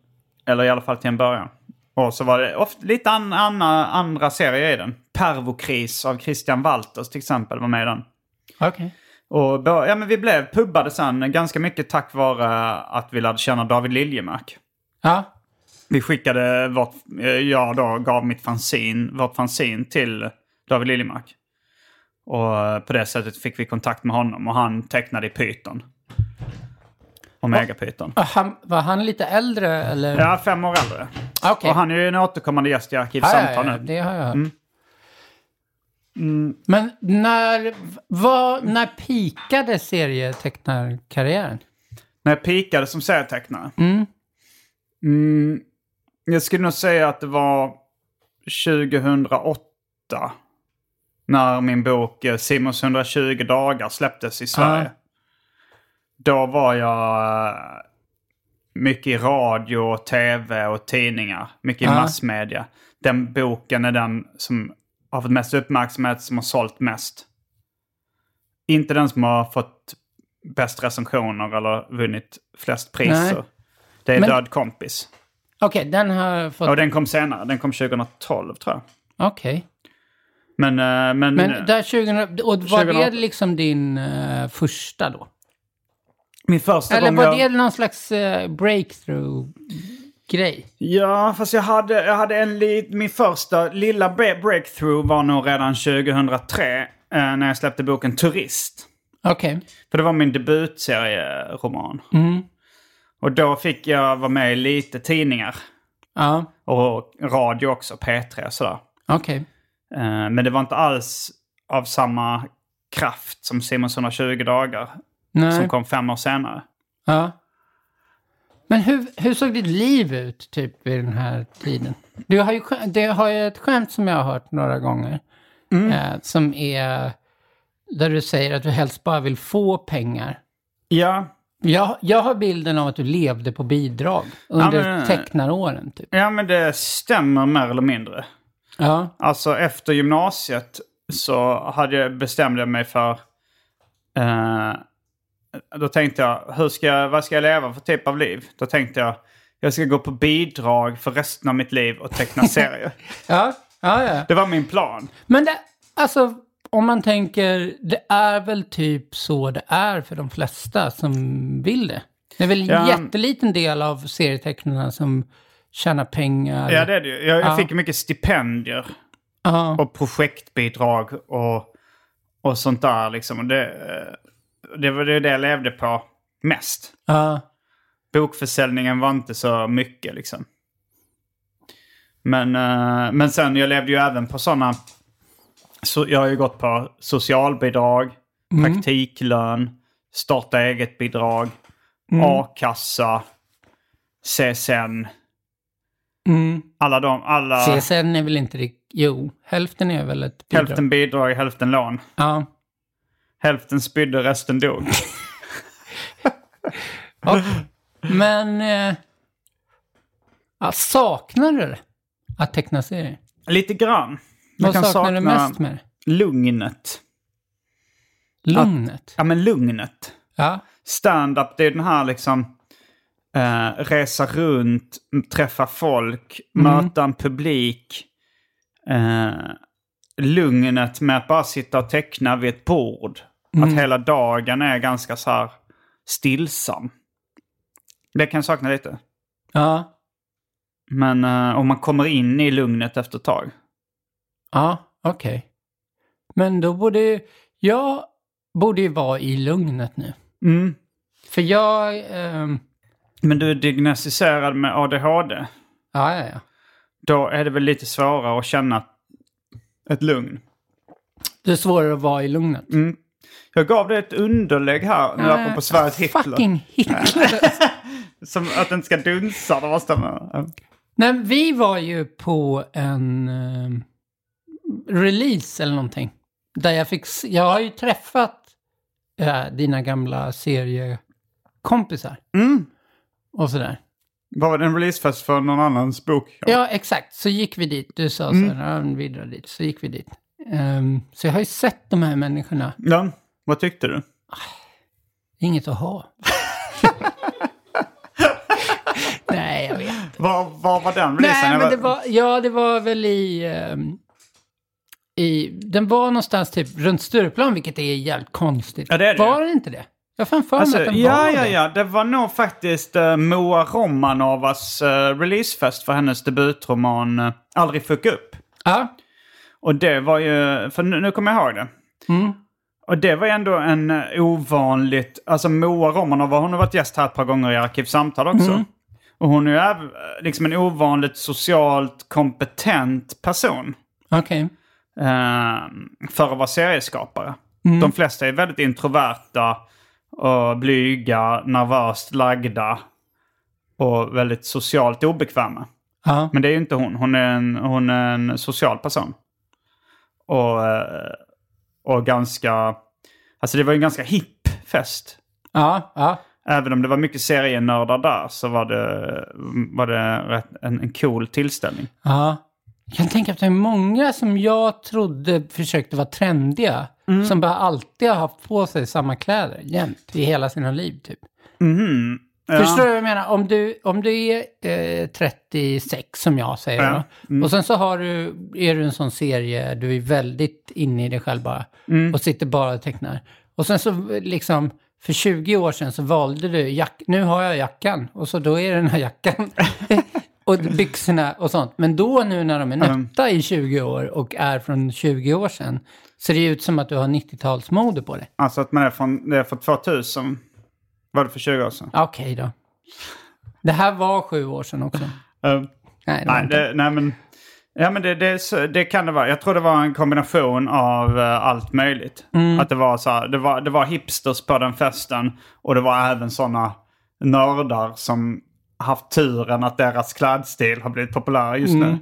eller i alla fall till en början. Och så var det ofta lite an, anna, andra serier i den. Pervokris av Christian Walters till exempel var med i den. Okej. Och bör, ja, men vi blev pubbade sen ganska mycket tack vare att vi lärde känna David Liljemark. Ja. Vi skickade vårt, eh, jag då gav mitt fanzin, vårt fanzin till David Liljemark. Och eh, på det sättet fick vi kontakt med honom och han tecknade i Python. Omega Python. Och Han, var han lite äldre eller? Ja, fem år äldre. Ah, okej. Och han är ju en återkommande gäst i ja, Arkivsamtal ja, ja, nu. Mm. det har jag hört. Men när, vad, när pikade serietecknarkarriären? När jag peakade som serietecknare? Mm. Jag skulle nog säga att det var 2008. När min bok eh, Simons 120 dagar släpptes i Sverige. Ah. Då var jag eh, mycket i radio, och tv och tidningar. Mycket i Ah. massmedia. Den boken är den som har fått mest uppmärksamhet, som har sålt mest. Inte den som har fått bäst recensioner eller vunnit flest priser. Nej. Det är Men- Död kompis. Okej, den har jag fått... Och den kom senare. Den kom 2012 tror jag. Okej. Men... eh, men, Men eh, där 2000... Och var 2018. det liksom din eh, första då? min första Eller gång var jag... det någon slags eh, breakthrough-grej? Ja, fast jag hade, jag hade en li... Min första lilla bre- breakthrough var nog redan 2003. eh, När jag släppte boken Turist. Okej. För det var min debutserieroman. Mm. Och då fick jag vara med i lite tidningar. Ja, Och radio också, P3 och sådär. okej. Eh, Men det var inte alls av samma kraft som Simons 120 dagar som Nej. kom fem år senare. Ja. Men hur, hur såg ditt liv ut typ i den här tiden? Du har ju, skä- det har ju ett skämt som jag har hört några gånger. Mm. Eh, som är där du säger att du helst bara vill få pengar. Ja, Jag, jag har bilden av att du levde på bidrag Ja, under men- tecknaråren. Typ. ja, men det stämmer mer eller mindre. Ja, Alltså efter gymnasiet så hade jag, bestämde jag mig för... Eh, då tänkte jag, hur ska jag, vad ska jag leva för typ av liv? Då tänkte jag, jag ska gå på bidrag för resten av mitt liv och teckna serier. ja, ja. ja. Det var min plan. Men det, alltså, om man tänker, det är väl typ så det är för de flesta som vill det. Det är väl Ja. en jätteliten del av serietecknarna som tjänar pengar. Ja, det är det ju. Jag, jag Ja. fick mycket stipendier Ja. och projektbidrag och, och sånt där. Liksom. Det, eh, det var det, det jag levde på mest. Ja. Bokförsäljningen var inte så mycket liksom. Men, eh, men sen, jag levde ju även på sådana... Så jag har ju gått på socialbidrag, Mm. praktiklön, starta eget-bidrag, a-kassa, CSN. Mm. Alla de, alla... CSN är väl inte riktigt... Jo, hälften är väl ett bidrag. Hälften bidrag, hälften lån. Ja. Hälften spydde, resten dog. Och, men... Eh, ja, saknar du det? Att teckna serier? Lite grann. Jag Vad kan saknar sakna du mest med det? Lugnet. Lugnet? Ja, men lugnet. Ja. Stand-up, det är den här liksom... Eh, resa runt, träffa folk, möta en publik. Eh, lugnet med att bara sitta och teckna vid ett bord. Att hela dagen är ganska så här stillsam. Det kan jag sakna lite. Ja. Men eh, om man kommer in i lugnet efter ett tag. Ja, okej. Men då borde ju... Jag borde ju vara i lugnet nu. Mm. För jag... ehm, Men du är diagnostiserad med ADHD. ja, ja, ja. Då är det väl lite svårare att känna ett lugn. Det är svårare att vara i lugnet. Mm, Jag gav dig ett underlägg här, nu apropå Sveriges Hitler. Ah, Fucking Hitler! Som att den ska dunsa, det var stämma. Nej, men vi var ju på en ehm, release eller någonting. Där jag fick... s- Jag har ju träffat eh, dina gamla seriekompisar. Mm. Och sådär. Var det en releasefest för någon annans bok? Ja, exakt. Så gick vi dit. Du sa så här, mm. vi drar dit. Så gick vi dit. Ehm, så jag har ju sett de här människorna. ja. Vad tyckte du? Inget att ha. Nej, jag vet. Vad vad var den releasen? Nej, Jag men det var, ja, det var väl i... ehm, i... Den var någonstans typ runt Stureplan, vilket är jävligt konstigt. Ja, det är det. Var den inte det? Jag har fan för mig Alltså, att den ja, var ja, det. ja. Det var nog faktiskt eh, Moa Romanovas eh, releasefest för hennes debutroman eh, Aldrig fuck upp. ja. Och det var ju, för nu, nu kommer jag ihåg det. Och det var ju ändå en eh, ovanligt, alltså Moa Romanova, hon har varit gäst här ett par gånger i Arkivsamtal också. Och hon är ju äv- liksom en ovanligt socialt kompetent person. Okej. eh, för att vara serieskapare. De flesta är väldigt introverta, och blyga, nervöst lagda och väldigt socialt obekväma. Ja. Men det är ju inte hon. Hon är en, hon är en social person. Och, eh, och ganska... Alltså det var ju en ganska hipp fest. Ja, ja. Även om det var mycket serienördar där så var det, var det rätt, en, en cool tillställning. Ja. Jag kan tänka att det är många som jag trodde försökte vara trendiga. Som bara alltid har haft på sig samma kläder jämt i hela sina liv typ. Förstår du vad jag menar? Om du, om du är eh, 36 som jag säger Ja. då, och sen så har du, är du en sån serie, du är väldigt inne i dig själv bara och sitter bara och tecknar. Och sen så eh, liksom, för 20 år sedan så valde du, jack, nu har jag jackan och så då är det den här jackan. och byxorna och sånt. Men då nu när de är nötta i 20 år och är från 20 år sedan ser det ut som att du har 90-talsmode på dig. Alltså att man är från, det är från 2000. Var det för 20 år sedan? Okej då. Det här var sju år sedan också. Eh, Nej, det var nej, inte. det, nej, men, ja, men det, det, är så- det kan det vara. Jag tror det var en kombination av eh, allt möjligt. Mm. Att det var, så här, det, var, det var hipsters på den festen och det var även sådana nördar som haft turen att deras klädstil har blivit populär just Mm. nu.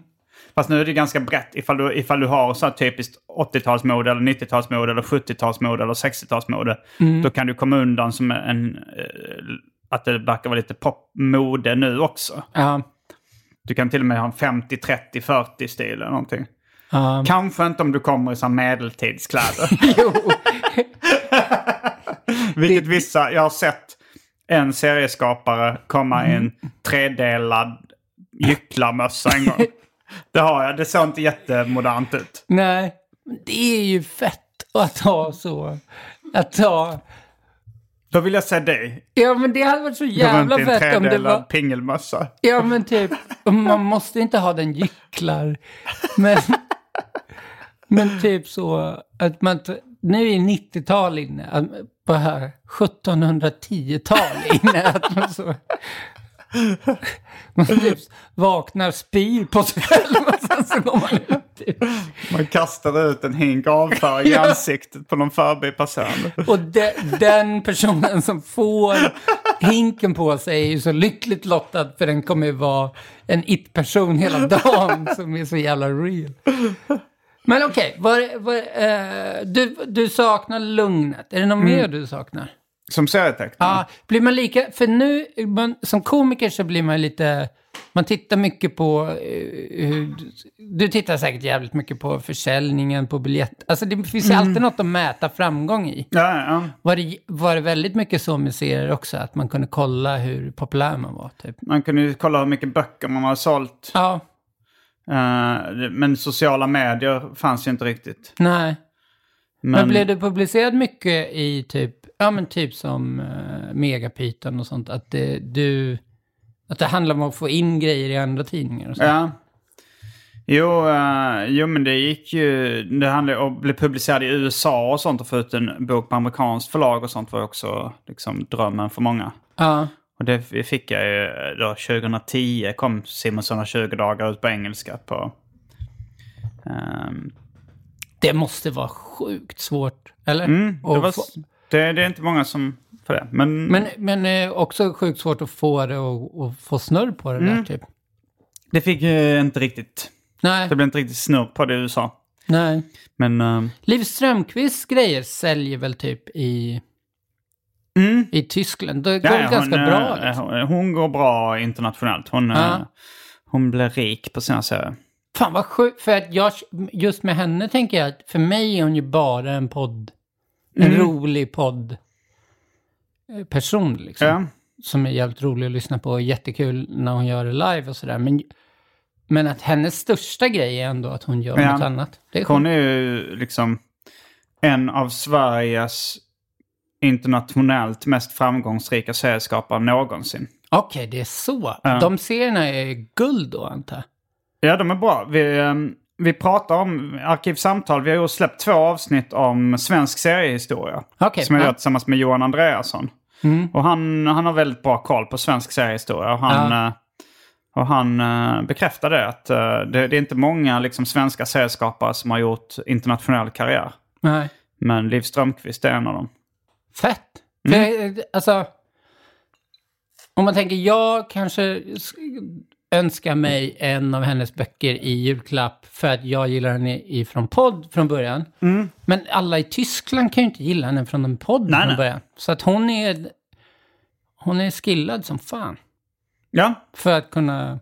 Fast nu är det ganska brett ifall du, ifall du har så här typiskt 80-talsmode eller 90-talsmode eller 70-talsmode eller 60-talsmode. Mm. Då kan du komma undan som en... eh, att det verkar vara lite popmode nu också. Ja, Du kan till och med ha en 50, 30, 40 stil eller någonting. ja. Kanske inte om du kommer i så här medeltidskläder. jo. Vilket vissa, jag har sett en serieskapare komma i en tredelad gycklarmössa en gång. Det har jag, det såg inte jättemodernt ut. Nej, men det är ju fett att ha så. Att ha... Då vill jag se dig Ja, men det hade varit så gå runt jävla i en fett om det tredelad var... pingelmössa. Ja, men typ, man måste inte ha den gycklar. Men, men typ så att man... t- Nu är 90-tal inne, att- på här 1710-tal inne. Att man, så, man typ vaknar, spyr på sig själv och sen så går man ut. Typ. Man kastar ut en hink avföring i Ja. ansiktet på någon förbipasserande. Och de, den personen som får hinken på sig är ju så lyckligt lottad för den kommer ju vara en it-person hela dagen som är så jävla real. Men okej, var, var, eh, du, du saknar lugnet. Är det något mer du saknar? Som serietecknare. Ja, blir man lika... För nu, man, som komiker så blir man ju lite... Man tittar mycket på... eh, hur, du tittar säkert jävligt mycket på försäljningen, på biljett. Alltså det finns ju alltid något att mäta framgång i. Ja, ja, ja. Var det, var det väldigt mycket så med serier också? Att man kunde kolla hur populär man var? Typ? Man kunde ju kolla hur mycket böcker man har sålt. Ja, Eh, det- men sociala medier fanns ju inte riktigt. nej. Men, Men, blev du publicerad mycket i typ, ja men typ som uh, Megapyton och sånt? Att det, du, att det handlar om att få in grejer i andra tidningar och sånt? Ja. Jo, eh, jo, men det gick ju... Det handlade om att bli publicerad i USA och sånt och få ut en bok på amerikanskt förlag och sånt var också liksom drömmen för många. Ja. Och det fick jag ju eh, då 2010 kom Simonsson har 20 dagar ut på engelska på... ehm, Det måste vara sjukt svårt, eller? Mm, det, Att var, få- det, det är inte många som... För det. Men, Men, men eh, också sjukt svårt att få det och, och få snurr på det där typ. det fick ju inte riktigt... Nej, Det blev inte riktigt snurr på det i USA. nej. Men... ehm, Liv Strömquists grejer säljer väl typ i, i Tyskland. Det går Mm. Ja, väl ja, ganska hon, bra. eh, Liksom. Hon, hon går bra internationellt. Hon, Ja. eh, hon blir rik på sina serier. Fan vad sjukt, för att jag, just med henne tänker jag att för mig är hon ju bara en podd, en Mm. rolig podd eh, person liksom. Ja. Som är jävligt rolig att lyssna på och jättekul när hon gör det live och sådär. Men Men att hennes största grej är ändå att hon gör Ja. något annat. Det är Hon skönt. är ju liksom en av Sveriges internationellt mest framgångsrika serieskapare någonsin. Okej, det är så. Ja. De serierna är guld då, antar jag. Ja, de är bra. Vi, eh, vi pratar om Arkivsamtal. Vi har ju släppt två avsnitt om svensk seriehistoria. Okej, som jag ja. Mm. gör tillsammans med Johan Andreasson. Och han, han har väldigt bra koll på svensk seriehistoria. Och han, eh, och han eh, bekräftade att eh, det, det är inte många liksom, svenska serieskapare som har gjort internationell karriär. Nej. Men Liv Strömquist är en av dem. Fett! Mm. För jag, alltså, om man tänker, jag kanske s- önskar mig en av hennes böcker i julklapp för att jag gillar henne ifrån podd från början. Men alla i Tyskland kan ju inte gilla henne från en podd Mm. Nej, från nej. början. Så att hon är, hon är skillad som fan. Ja, För att kunna...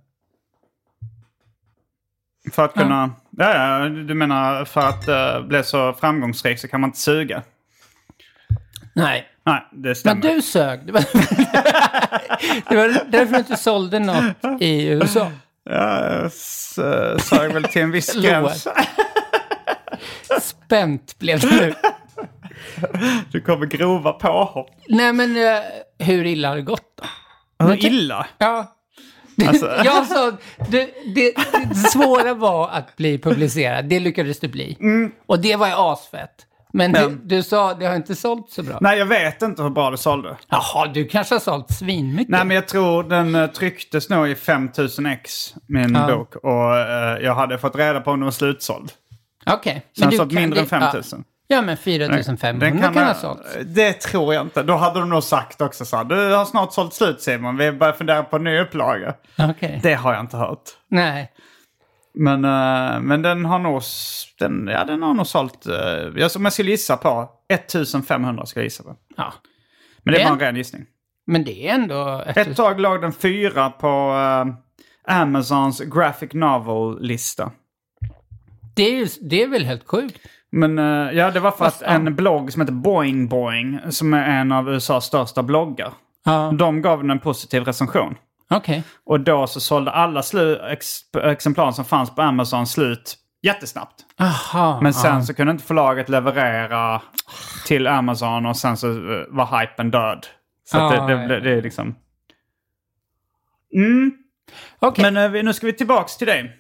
för att kunna... Ja. Ja, du menar för att eh, bli så framgångsrik så kan man inte suga. Nej, Nej, det men stämmer. du sög. Det var, det var därför du inte sålde något i USA. Ja, jag s- eh, sög väl till en viss gräns. Spänt blev det nu. Du kommer grova påhopp. Nej men eh, hur illa har det gått då? Hur illa? Ja. Alltså- jag sa, det, det, det svåra var att bli publicerad, det lyckades du bli. Och det var ju asfett. Men du, Mm. Men- du sa, det har inte sålt så bra. Nej, jag vet inte hur bra det sålde. Jaha, du kanske har sålt svinmycket. Nej, men jag tror den eh, trycktes nog i 5000 ex, min bok. Och eh, jag hade fått reda på om den var slutsåld. Okej. Så den du sålt kan- mindre än det- 5000. Ja, ja men 4500 kan, kan ha sålts. Det tror jag inte. Då hade de nog sagt också så här, du har snart sålt slut Simon, vi börjar fundera på en ny upplaga. Okej. eh, Det har jag inte hört. Nej. Men, eh, men den har nog, s- den, ja, den har nog sålt, eh, jag- om jag skulle gissa på, 1500 ska jag gissa på. Ja. Men det Det- var en ren gissning. Men det är ändå... Ett, Ett tag låg den fyra på eh, Amazons graphic novel-lista. det, är ju, det är väl helt sjukt? Men eh, ja, det var för att Fast, ja. en blogg som heter Boing Boing, som är en av USAs största bloggar, Ja. de gav den en positiv recension. Okej. Och då så sålde alla slu- ex- exemplar som fanns på Amazon slut jättesnabbt. Aha. Men sen så kunde inte förlaget leverera till Amazon och sen så eh, var hypen död. Så att Ah, det, det, ja. det, det är liksom... Mm. Okej. Mm. Men eh, vi- nu ska vi tillbaks till dig.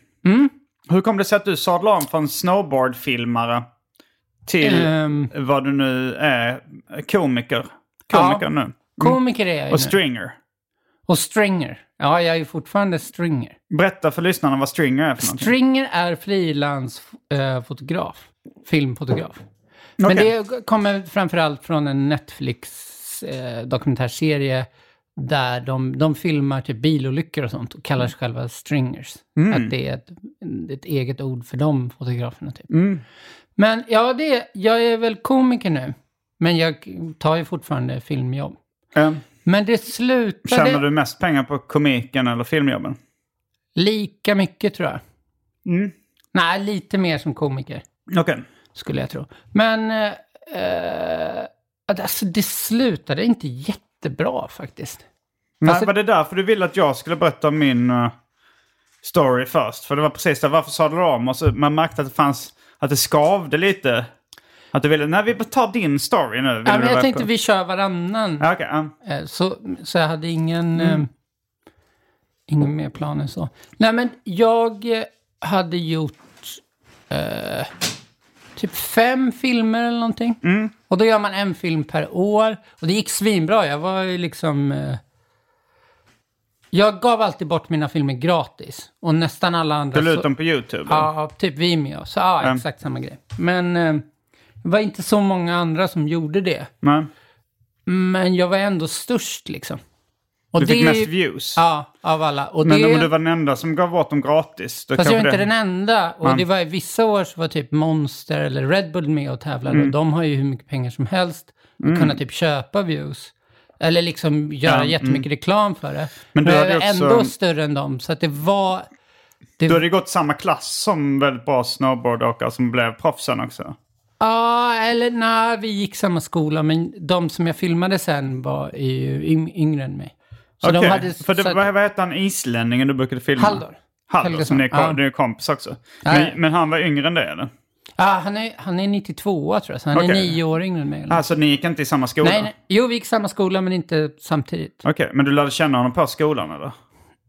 Hur kom det sig att du sadlade om från snowboardfilmare till Ehm. vad du nu är, komiker? Komiker nu. Komiker är jag Och ju nu. stringer. Och stringer. Ja, jag är ju fortfarande stringer. Berätta för lyssnarna vad stringer är för någonting. Stringer är frilansfotograf. Filmfotograf. Men Okej. det kommer framförallt från en Netflix-dokumentärserie där de, de filmar typ bilolyckor och sånt och kallar sig själva stringers. Mm. Att det är ett, ett eget ord för de fotograferna typ. Mm. Men ja, det, jag är väl komiker nu. Men jag tar ju fortfarande filmjobb. Eh, Men det slutade... Tjänar du mest pengar på komiken eller filmjobben? Lika mycket tror jag. Mm. Nej, lite mer som komiker Okej. skulle jag tro. Men eh, eh, alltså, det slutade inte jättebra faktiskt. Men Alltså- var det därför du ville att jag skulle berätta om min eh, story först? För det var precis det. Varför sadlade du om? Och så man märkte att det fanns... Att det skavde lite. Att du ville... Nej, vi tar din story nu. Ja, men jag tänkte vi... vi kör varannan. Ja, okej. ja. Mm. Eh, Så, så jag hade ingen, eh, ingen mer plan än så. Nej, men jag eh, hade gjort eh, typ fem filmer eller någonting. Mm. Och då gör man en film per år. Och det gick svinbra. Jag var ju liksom... Eh, jag gav alltid bort mina filmer gratis. Och nästan alla andra... Du la ut så- dem på YouTube. eller? Ja, typ Vimeo. Så ja, Mm. exakt samma grej. Men eh, det var inte så många andra som gjorde det. Men Men jag var ändå störst liksom. Och du fick det- mest views. Ja, av alla. Och men det... om du var den enda som gav bort dem gratis. Då Fast jag kanske var inte det... den enda. Och Mm. det var i vissa år så var typ Monster eller Red Bull med och tävlade. Mm. Och de har ju hur mycket pengar som helst. Och kunna typ köpa views. Eller liksom göra Ja, mm. jättemycket reklam för det. Men Men, du jag hade var också- ändå större än dem. Så att det var... Det... Du hade ju gått samma klass som väldigt bra snowboardåkare som blev proffsen också. Ja, eller nej, vi gick samma skola. Men de som jag filmade sen var ju yng- yngre än mig. Så Okej, de hade... För det, så att- vad, vad hette han islänningen du brukade filma? Haldor. Halldor, Helga som ni är, Svan- kom, ja. Mm. ni är kompis också. Nej. Men, men han var yngre än dig eller? Ja, han, är, han är 92 tror jag, så han är Okej. nio år yngre än mig. eller? Alltså ni gick inte i samma skola? nej, nej, jo, vi gick i samma skola men inte samtidigt. Okej, men du lärde känna honom på skolan eller?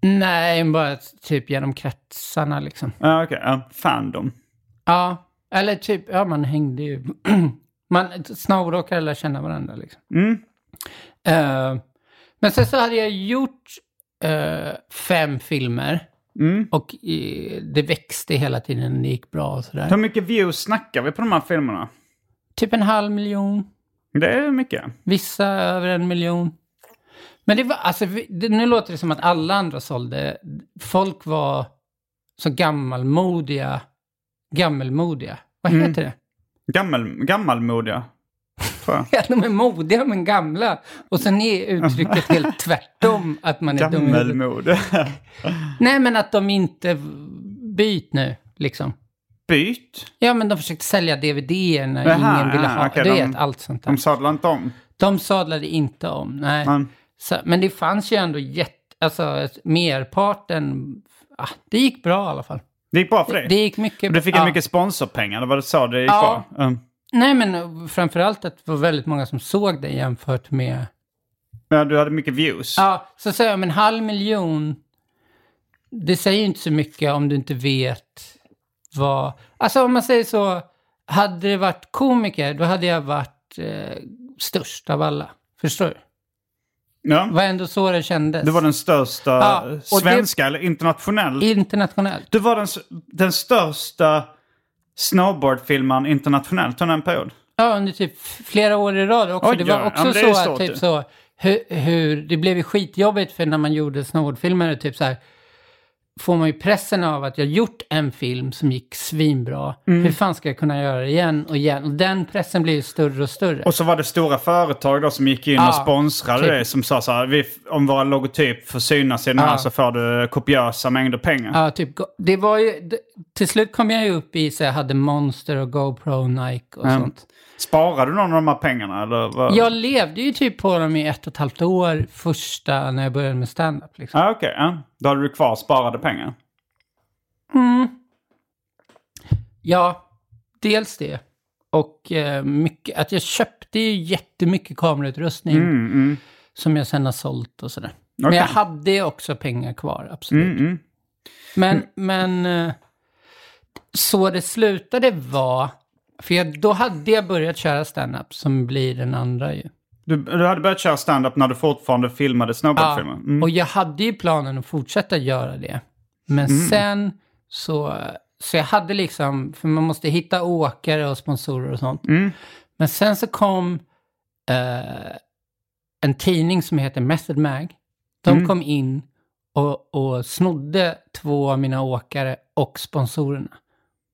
Nej, bara typ genom kretsarna liksom. Ja, okej. ja, fandom. Ja, eller typ, ja man hängde ju. man snabbråkade lära känna varandra liksom. Mm. Eh, men sen så hade jag gjort eh, fem filmer. Mm. Och eh, det växte hela tiden, det gick bra och sådär. Hur mycket views snackar vi på de här filmerna? Typ en halv miljon. Det är mycket. Vissa över en miljon. Men det var, alltså, vi- det, nu låter det som att alla andra sålde. Folk var så gammalmodiga. Gammelmodiga. Vad Mm. heter det? Gammel, gammalmodiga. Tror jag. Ja, de är modiga men gamla. Och sen är uttrycket helt tvärtom. Att man är dum i huvudet. Gammelmod. Nej, men att de inte byt nu, liksom. Byt. Ja, men de försökte sälja DVD när Jaha, ingen ville ja, ha. okej, du de- vet, allt sånt där. De sadlar inte om. De sadlade inte om, nej. Men, Så, men det fanns ju ändå jätte, alltså ett- merparten, ah, det gick bra i alla fall. det gick bra för dig. Det gick mycket Och du fick ja. ja. mycket sponsorpengar, det var det så det gick Ja. bra? Mm. Nej men framförallt att det var väldigt många som såg det jämfört med... Ja, du hade mycket views. Ja, så säger jag, men halv miljon, det säger ju inte så mycket om du inte vet vad... Alltså om man säger så, hade det varit komiker, då hade jag varit eh, störst av alla. Förstår du? Det Ja. var ändå så det kändes. Du var den största Ja, och det- svenska eller internationell. Internationellt. Du var den, s- den största snowboardfilmaren internationellt under en period. Ja, under typ flera år i rad också. Oj, det var ja. också Ja, men det är så ju att stort typ ju. så, hur, hur, det blev ju skitjobbigt för när man gjorde snowboardfilmer, typ så här, får man ju pressen av att jag gjort en film som gick svinbra. Mm. Hur fan ska jag kunna göra det igen och igen? Och den pressen blir ju större och större. Och så var det stora företag då som gick in Ja, och sponsrade typ. det som sa så här, vi, f- om vår logotyp får synas i den här så får du kopiösa mängder pengar. Ja, typ, go- det var ju, d- till slut kom jag ju upp i så jag hade Monster och GoPro, Nike och Mm. sånt. Sparade du någon av de här pengarna eller? Vad? Jag levde ju typ på dem i ett och ett halvt år första när jag började med stand-up. Liksom. Ja, okej. ja. Då hade du kvar sparade pengar. Ja, dels det. Och eh, mycket, att jag köpte ju jättemycket kamerautrustning Mm, mm. som jag sen har sålt och sådär. Men Okej. jag hade ju också pengar kvar, absolut. Mm, mm. Men, men eh, så det slutade var, för jag, då hade jag börjat köra stand-up som blir den andra ju. Du, du hade börjat köra stand-up när du fortfarande filmade snowboardfilmer? Mm. Och jag hade ju planen att fortsätta göra det. Men sen så, så jag hade liksom, för man måste hitta åkare och sponsorer och sånt. Men sen så kom eh, en tidning som heter Method Mag. De kom in och, och snodde två av mina åkare och sponsorerna.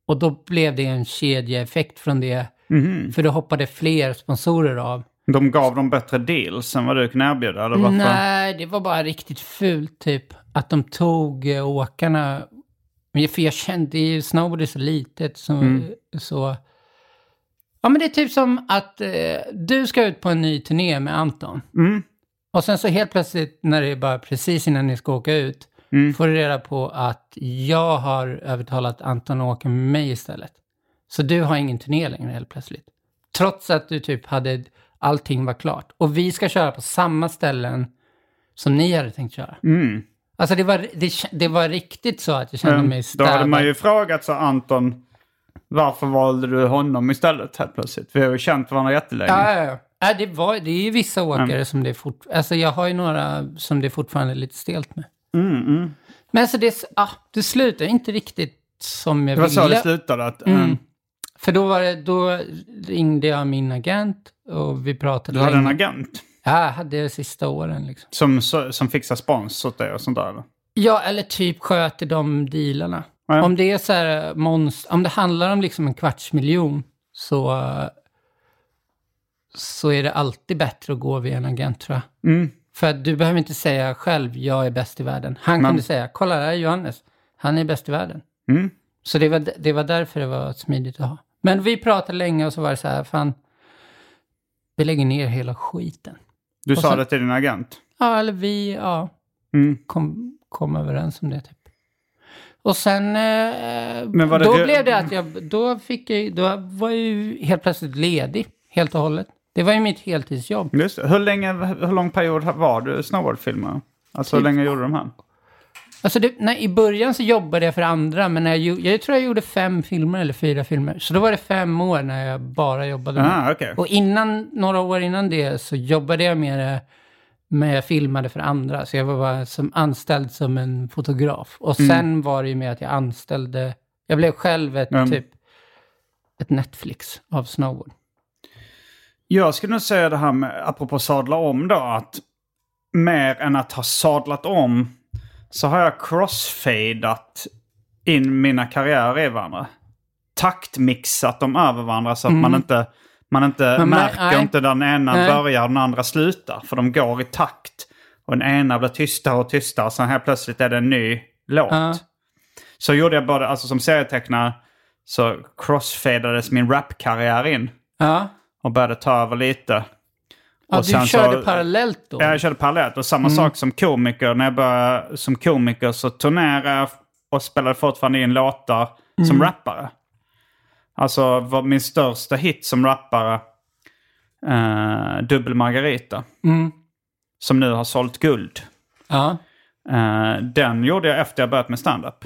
Och då blev det en kedjeeffekt från det. För då hoppade fler sponsorer av. Mm-hmm. De gav dem bättre deals än vad du kunde erbjuda? Eller varför? Nej, det var bara riktigt fult typ. Att de tog eh, åkarna. Men För jag kände ju, snowboard är så litet. Så, Mm. så, ja men det är typ som att eh, du ska ut på en ny turné med Anton. Mm. Och sen så helt plötsligt när det är bara precis innan ni ska åka ut. Mm. Får du reda på att jag har övertalat Anton att åka med mig istället. Så du har ingen turné längre helt plötsligt. Trots att du typ hade, allting var klart. Och vi ska köra på samma ställen som ni hade tänkt köra. Mm. Alltså det var, det, kä- det var riktigt så att jag kände Mm. mig Då städad. hade man ju frågat så Anton, varför valde du honom istället helt plötsligt? Vi har ju känt varandra jättelänge. Ja, ja, ja. ja det, var, det är ju vissa åkare som det är fort, Alltså jag har ju några som det fortfarande är lite stelt med. Mm, mm. Men alltså det, ah, det slutar ju inte riktigt som jag Det var ville. så det slutade. Att, mm. Mm. För då, var det, då ringde jag min agent och vi pratade Du hade en länge. agent Ja, jag hade det sista åren liksom. som, så- som fixade spons åt dig och sånt där. eller? Ja, eller typ sköter de dealarna. Ja. Om det är så här, eh, monst- om det handlar om liksom en kvarts miljon så, eh, så är det alltid bättre att gå via en agent tror jag. Mm. För att du behöver inte säga själv, jag är bäst i världen. Han kunde säga, kolla där är Johannes, han är bäst i världen. Mm. Så det var, det var därför det var smidigt att ha. Men vi pratade länge och så var det så här, fan, vi lägger ner hela skiten. Du Och sa sen- det till din agent. Ja, eller vi, ja, Mm. kom, kom överens om det typ. Och sen eh, Men var det då re- blev det att jag, då fick jag, ju- då var jag ju helt plötsligt ledig helt och hållet. Det var ju mitt heltidsjobb. Just det. Hur, länge, hur lång period var du snowboardfilmare? Alltså Typ hur länge gjorde du de Mm. här? Alltså det, nej, I början så jobbade jag för andra, men när jag, gjo- jag tror jag gjorde fem filmer eller fyra filmer. Så då var det fem år när jag bara jobbade med. Ah, okej. Och innan, några år innan det så jobbade jag med det, men jag filmade för andra. Så jag var bara som anställd som en fotograf. Och Mm. sen var det ju med att jag anställde, jag blev själv ett Mm. typ, ett Netflix av snowboard. Jag skulle nog säga det här med, apropå sadla om då, att mer än att ha sadlat om så har jag crossfadat in mina karriärer i varandra. Taktmixat dem över varandra så att man inte, man inte Mm. Men man- märker nej. inte den ena Nej. börjar och den andra slutar. För de går i takt. Och den ena blir tystare och tystare. Sen helt plötsligt är det en ny låt. Ja. Så gjorde jag både, alltså som serietecknare så crossfadades min rapkarriär in. Ja, Och började ta över lite. ja Och du sen så- körde parallellt då? Mm. Ja, jag körde parallellt. Och samma sak som komiker. När jag började som komiker så turnerade jag och spelade fortfarande in låtar Mm. som rappare. Alltså var min största hit som rappare, eh, Dubbel Margarita. Mm. Som nu har sålt guld. ja. Eh, den gjorde jag efter jag börjat med stand-up.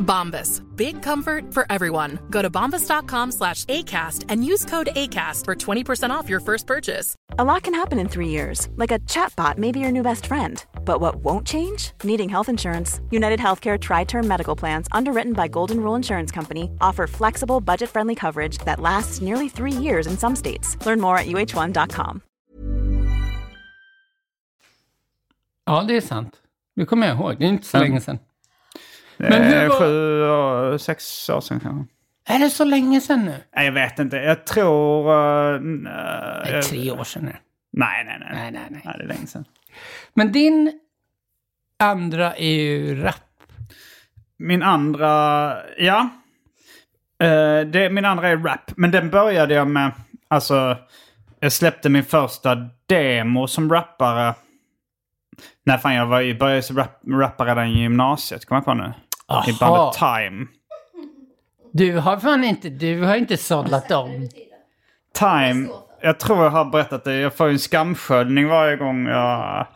Bombas. Big comfort for everyone. Go to bombas.com slash ACAST and use code ACAST for 20% off your first purchase. A lot can happen in three years, like a chatbot may be your new best friend. But what won't change? Needing health insurance. United Healthcare Tri Term Medical Plans, underwritten by Golden Rule Insurance Company, offer flexible, budget friendly coverage that lasts nearly three years in some states. Learn more at uh1.com. ja, det är sant. Det kommer jag ihåg. Det är inte så länge sedan. Men hur Eh, var- Sju, år- sex år sedan kanske. Är det så länge sedan nu? Nej, jag vet inte. Jag tror... eh, n- eh, Nej, tre år sedan nu. Nej, nej, nej. Nej, nej, nej. det är länge sedan. Men din andra är ju rap. Min andra, ja. Eh, det, min andra är rap. Men den började jag med, alltså. Jag släppte min första demo som rappare. När fan jag var, jag började som rap, rappa redan i gymnasiet, kommer jag på nu. I Aha. bandet Time. Du har fan inte, du har inte sadlat om. Time, jag tror jag har berättat det, jag får ju en skamsköljning varje gång jag,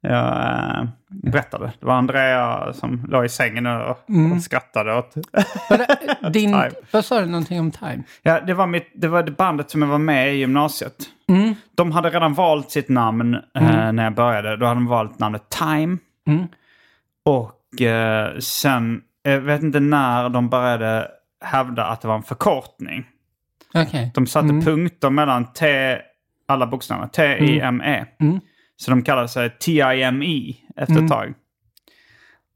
jag eh, berättar det. Det var Andrea som låg i sängen och, och skrattade åt eh, Din, Time. vad sa du någonting om time? Ja, det var, mitt, det var det bandet som jag var med i gymnasiet. De hade redan valt sitt namn eh, när jag började. Då hade de valt namnet Time. Och eh, sen, jag vet inte när de började hävda att det var en förkortning. Okej. De satte punkter mellan T, alla bokstäver, T-I-M-E. E. Så de kallade sig T-I-M-E E efter ett tag.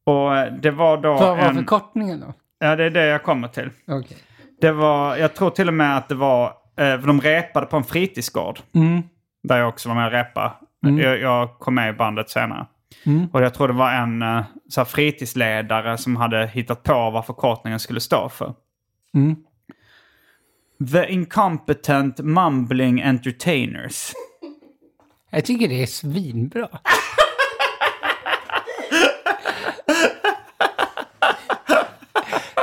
Och eh, det var då Vad var en... förkortningen då? ja, det är det jag kommer till. Okej. Det var, jag tror till och med att det var, eh, för de repade på en fritidsgård. Där jag också var med och repade. Jag, jag kom med i bandet senare. Och jag tror det var en eh, så här fritidsledare som hade hittat på vad förkortningen skulle stå för. The Incompetent Mumbling Entertainers. Jag tycker det är svinbra.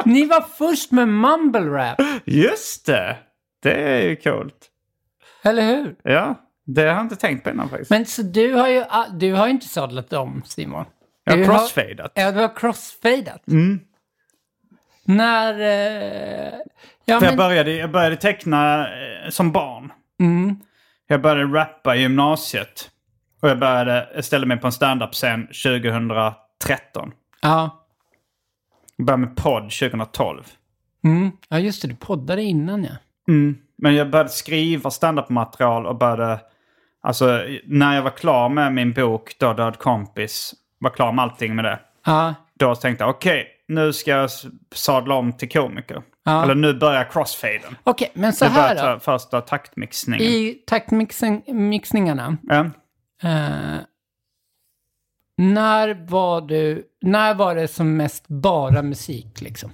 Ni var först med mumble rap, Just det! Det är ju coolt. eller hur? Ja, det har jag inte tänkt på innan faktiskt. Men så du har ju, all- du har ju inte sadlat om Simon. jag Mm. Du har crossfadat. Ja, du har crossfadat. När... Eh, ja, För men, jag, började, jag började teckna eh, som barn. Mm. Jag började rappa i gymnasiet. Och jag började jag ställde mig på en standup-scen 2013. Ja. Jag började med podd 2012. Mm. ja, just det. Du poddade innan, ja. Mm. Men jag började skriva standup-material och började... Alltså när jag var klar med min bok då Död kompis, var klar med allting med det. Ja, Då tänkte jag okej, nu ska jag s- sadla om till komiker. Ja. Eller nu börjar crossfaden. Okej, men så Nu här börjar ta- då. första taktmixningen. I taktmixningarna. Ja. Eh, när var du... När var det som mest bara musik, liksom?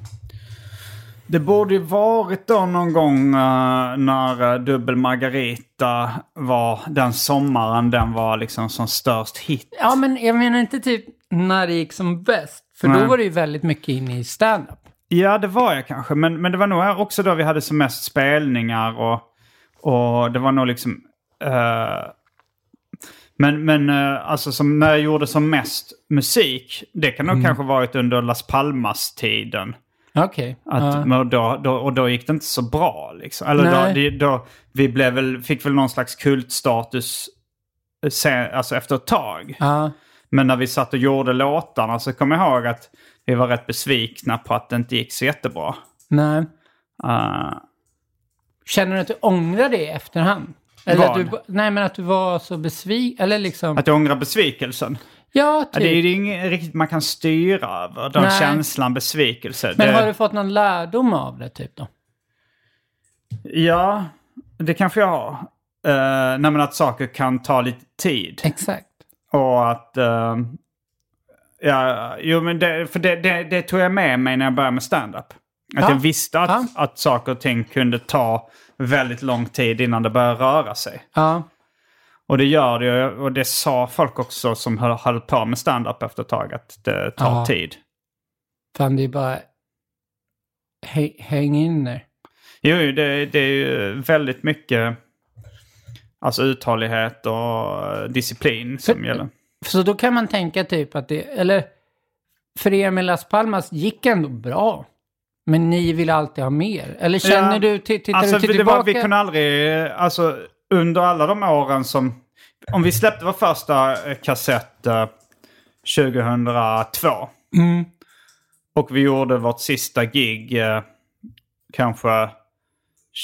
Det borde ju varit då någon gång eh, när eh, Dubbel Margarita var den sommaren den var liksom som störst hit. Ja, men jag menar inte typ när det gick som bäst. För då Nej. var det ju väldigt mycket in i stand-up. Ja, det var jag kanske. Men, men det var nog här också då vi hade som mest spelningar och, och det var nog liksom... eh, men men eh, alltså som när jag gjorde som mest musik, det kan nog kanske varit under Las Palmas-tiden. Okej. Att, ja. men då, då, och då gick det inte så bra. Liksom. Eller Nej. då, det- då, vi blev väl, fick väl någon slags kultstatus sen, alltså efter ett tag. Ja. Men när vi satt och gjorde låtarna så kom jag ihåg att vi var rätt besvikna på att det inte gick så jättebra. Nej. Uh, Känner du att du ångrar det i efterhand? Eller att Vad? du, nej, men att du var så besviken. Eller liksom... att jag ångrar besvikelsen. ja, typ. Ja, Det är ju inget riktigt man kan styra över. Den Nej. känslan, besvikelse. Men det, har du fått någon lärdom av det, typ då? Ja, det kanske jag har. Uh, nej, men att saker kan ta lite tid. Exakt. Och att... eh, ja, jo, men det, för det, det, det tog jag med mig när jag började med stand-up. Att Ja. jag visste att, Ja. att saker och ting kunde ta väldigt lång tid innan det började röra sig. Ja. Och det gör det ju, och det sa folk också som höll, höll på med stand-up efter ett tag, att det tar Ja. tid. Fan, det är bara... Häng, häng in där. Jo, jo, det, det är ju väldigt mycket alltså uthållighet och eh, disciplin som gäller. Så då kan man tänka typ att det... Eller... För er med Las Palmas gick ändå bra. Men ni vill alltid ha mer. Eller känner Ja. du... t- Tittar alltså, du till det var, tillbaka... vi kunde aldrig, eh, alltså under alla de åren som, om vi släppte vår första eh, kassett eh, 2002 Mm. och vi gjorde vårt sista gig eh, kanske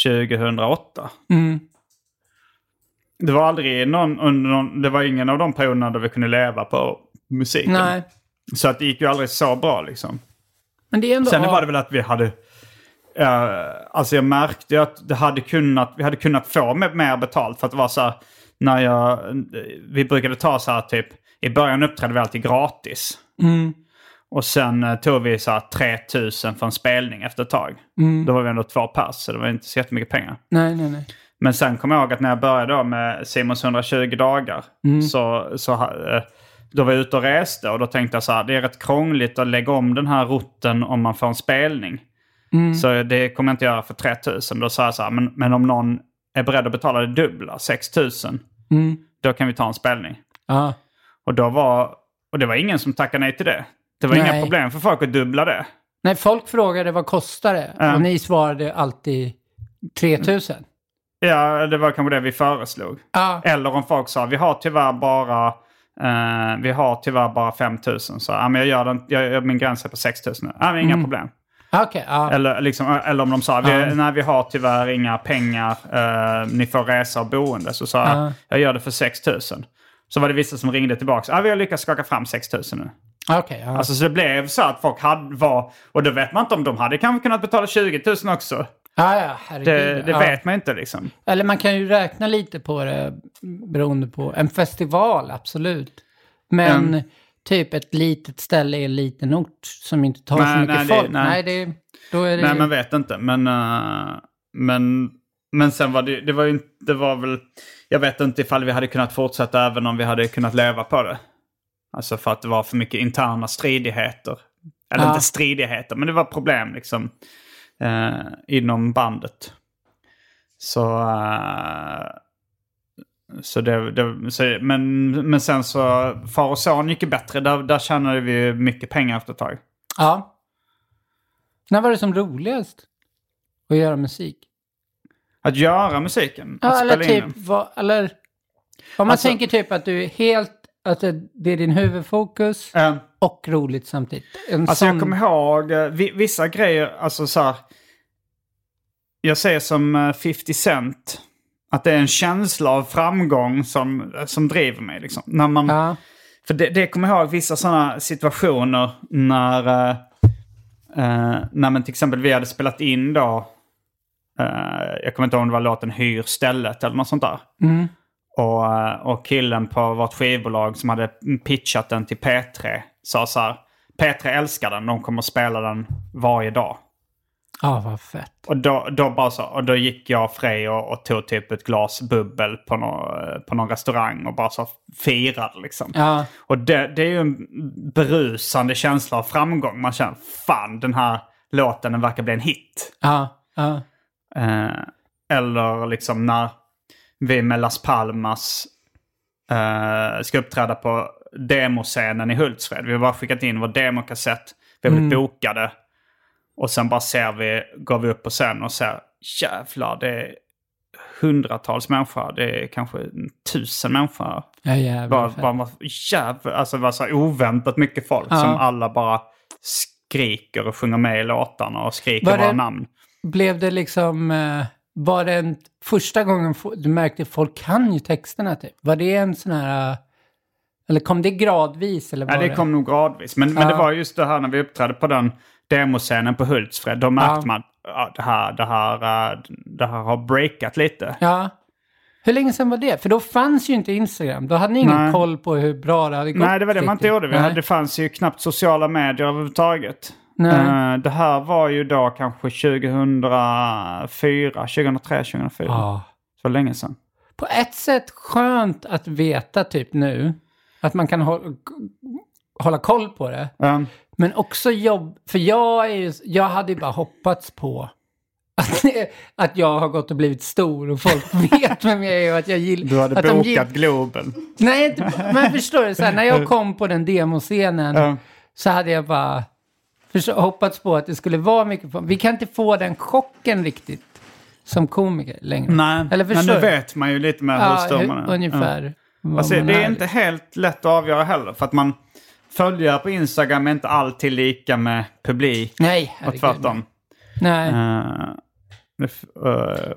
2008. Mm. Det var aldrig någon, under någon, det var ingen av de perioderna där vi kunde leva på musiken. Nej. Så att det gick ju aldrig så bra liksom. Men det är ändå... Sen var det väl att vi hade... eh, alltså jag märkte ju att det hade kunnat, vi hade kunnat få me- mer betalt. För att det var så här, när jag, vi brukade ta så här typ, i början uppträdde vi alltid gratis. Mm. Och sen eh, tog vi så här 3000 för en spelning efter ett tag. Mm. Då var vi ändå två pers, så det var inte så jättemycket pengar. Nej, nej, nej. Men sen kom jag ihåg att när jag började då med Simons 120 dagar Mm. så, så eh, då var jag ute och reste och då tänkte jag så här, det är rätt krångligt att lägga om den här rutten om man får en spelning. Mm. Så det kommer jag inte göra för 3000. Då sa jag så här, men, men om någon är beredd att betala det dubbla, 6000, Mm. då kan vi ta en spelning. Ja. Och, då var, och det var ingen som tackade nej till det. Det var Nej. inga problem för folk att dubbla det. Nej, folk frågade vad kostar det? Ja. Mm. Och ni svarade alltid 3000. Ja, det var kanske det vi föreslog. Ja. Eller om folk sa vi har tyvärr bara eh, vi har tyvärr bara 5 000. Så ja, men jag gör den, jag, jag- min gräns är på 6 000 nu. Ja, men inga problem. Okej, ja. Eller, liksom, eller om de sa vi, Mm. Ja. nej vi har tyvärr inga pengar. eh, ni får resa och boende. Så sa Ja. jag jag gör det för 6 000. Så var det vissa som ringde tillbaka. Ja, vi har lyckats skaka fram 6 000 nu. Okej, ja. Alltså så det blev så att folk hade, var... Och då vet man inte om de hade kanske kunnat betala 20 000 också. ja, ja, herregud. Det, det ja. vet man inte liksom. Eller man kan ju räkna lite på det beroende på. En festival, absolut. Men typ ett litet ställe i en liten ort som inte tar så Nej, mycket nej, det- folk. nej. nej. det, då är det Nej, ju- man vet inte. Men, eh, men, men sen var det, det var ju inte, det var väl, jag vet inte ifall vi hade kunnat fortsätta även om vi hade kunnat leva på det. Alltså för att det var för mycket interna stridigheter. Eller Ja. inte stridigheter, men det var problem liksom eh, inom bandet. Så, eh, så det, det så, men, men sen så, far och son gick ju bättre. Där, där tjänade vi mycket pengar efter ett tag. Ja. När var det som roligast att göra musik? Att göra musiken? Ja, att eller spela in typ, den? vad, eller... Om man Alltså- tänker typ att du är helt... Att det det är din huvudfokus och roligt samtidigt. En Ehm, Alltså sån- jag kommer ihåg eh, vi- vissa grejer, alltså så här. Jag ser som eh, 50 Cent. Att det är en känsla av framgång som, som driver mig. Liksom. När man, För det, det kommer jag ihåg vissa sådana situationer när, eh, eh, när man till exempel vi hade spelat in då. eh, jag kommer inte ihåg om det var låten Hyr stället eller något sånt där. Mm. Och, eh, och killen på vårt skivbolag som hade pitchat den till P3 sa så här. P3 älskar den, de kommer att spela den varje dag. Ja, vad fett. Och då, då bara så, och då gick jag och Frej och, och tog typ ett glas bubbel på, nå eh, på någon restaurang och bara så firade liksom. Ja. Och det, det är ju en berusande känsla av framgång. Man känner fan den här låten den verkar bli en hit. Ja, ja. Eh, eller liksom när vi med Las Palmas eh, ska uppträda på demoscenen i Hultsfred. Vi har bara skickat in vår demokassett, vi har blivit Mm. bokade. Och sen bara ser vi, går vi upp på scenen och ser, jävlar det är hundratals människor, det är kanske tusen människor. Ja, jävlar, bara, fett. bara, bara, jävlar, alltså det var så här oväntat mycket folk Ja. som alla bara skriker och sjunger med i låtarna och skriker Var våra det- namn. Blev det liksom... eh, Var det en, första gången fo- du märkte att folk kan ju texterna typ? Var det en sån här... eh, Eller kom det gradvis? Eller var Ja, det kom nog gradvis. Men, men Ja. det var just det här när vi uppträdde på den demoscenen på Hultsfred. Då märkte man att ja, det, här, det, här, äh, det här har breakat lite. Ja. Hur länge sedan var det? För då fanns ju inte Instagram. Då hade ni ingen Nej. koll på hur bra det hade gått. Nej, det var det man inte riktigt. gjorde. Vi Nej. hade, det fanns ju knappt sociala medier överhuvudtaget. Nej. Eh, Det här var ju då kanske 2004, 2003, 2004. Ja. Så länge sedan. På ett sätt skönt att veta typ nu. Att man kan hå- hålla koll på det. Ehm, Men också jobb... För jag, är ju, jag hade ju bara hoppats på att, att jag har gått och blivit stor och folk vet vem jag är och att jag gillar... Du hade att de bokat gill- Globen. Nej, inte- men förstår du? Så här, när jag kom på den demoscenen så hade jag bara förstå- hoppats på att det skulle vara mycket... folk. Vi kan inte få den chocken riktigt som komiker längre. Nej, Eller men förstår nu du? vet man ju lite mer Ja, hur stor hur- man är. ungefär Ja. vad Alltså, man det är är. inte helt lätt att avgöra heller. För att man följare på Instagram är inte alltid lika med publik. Nej, Och herregud. tvärtom. Nej. Eh, det f- eh,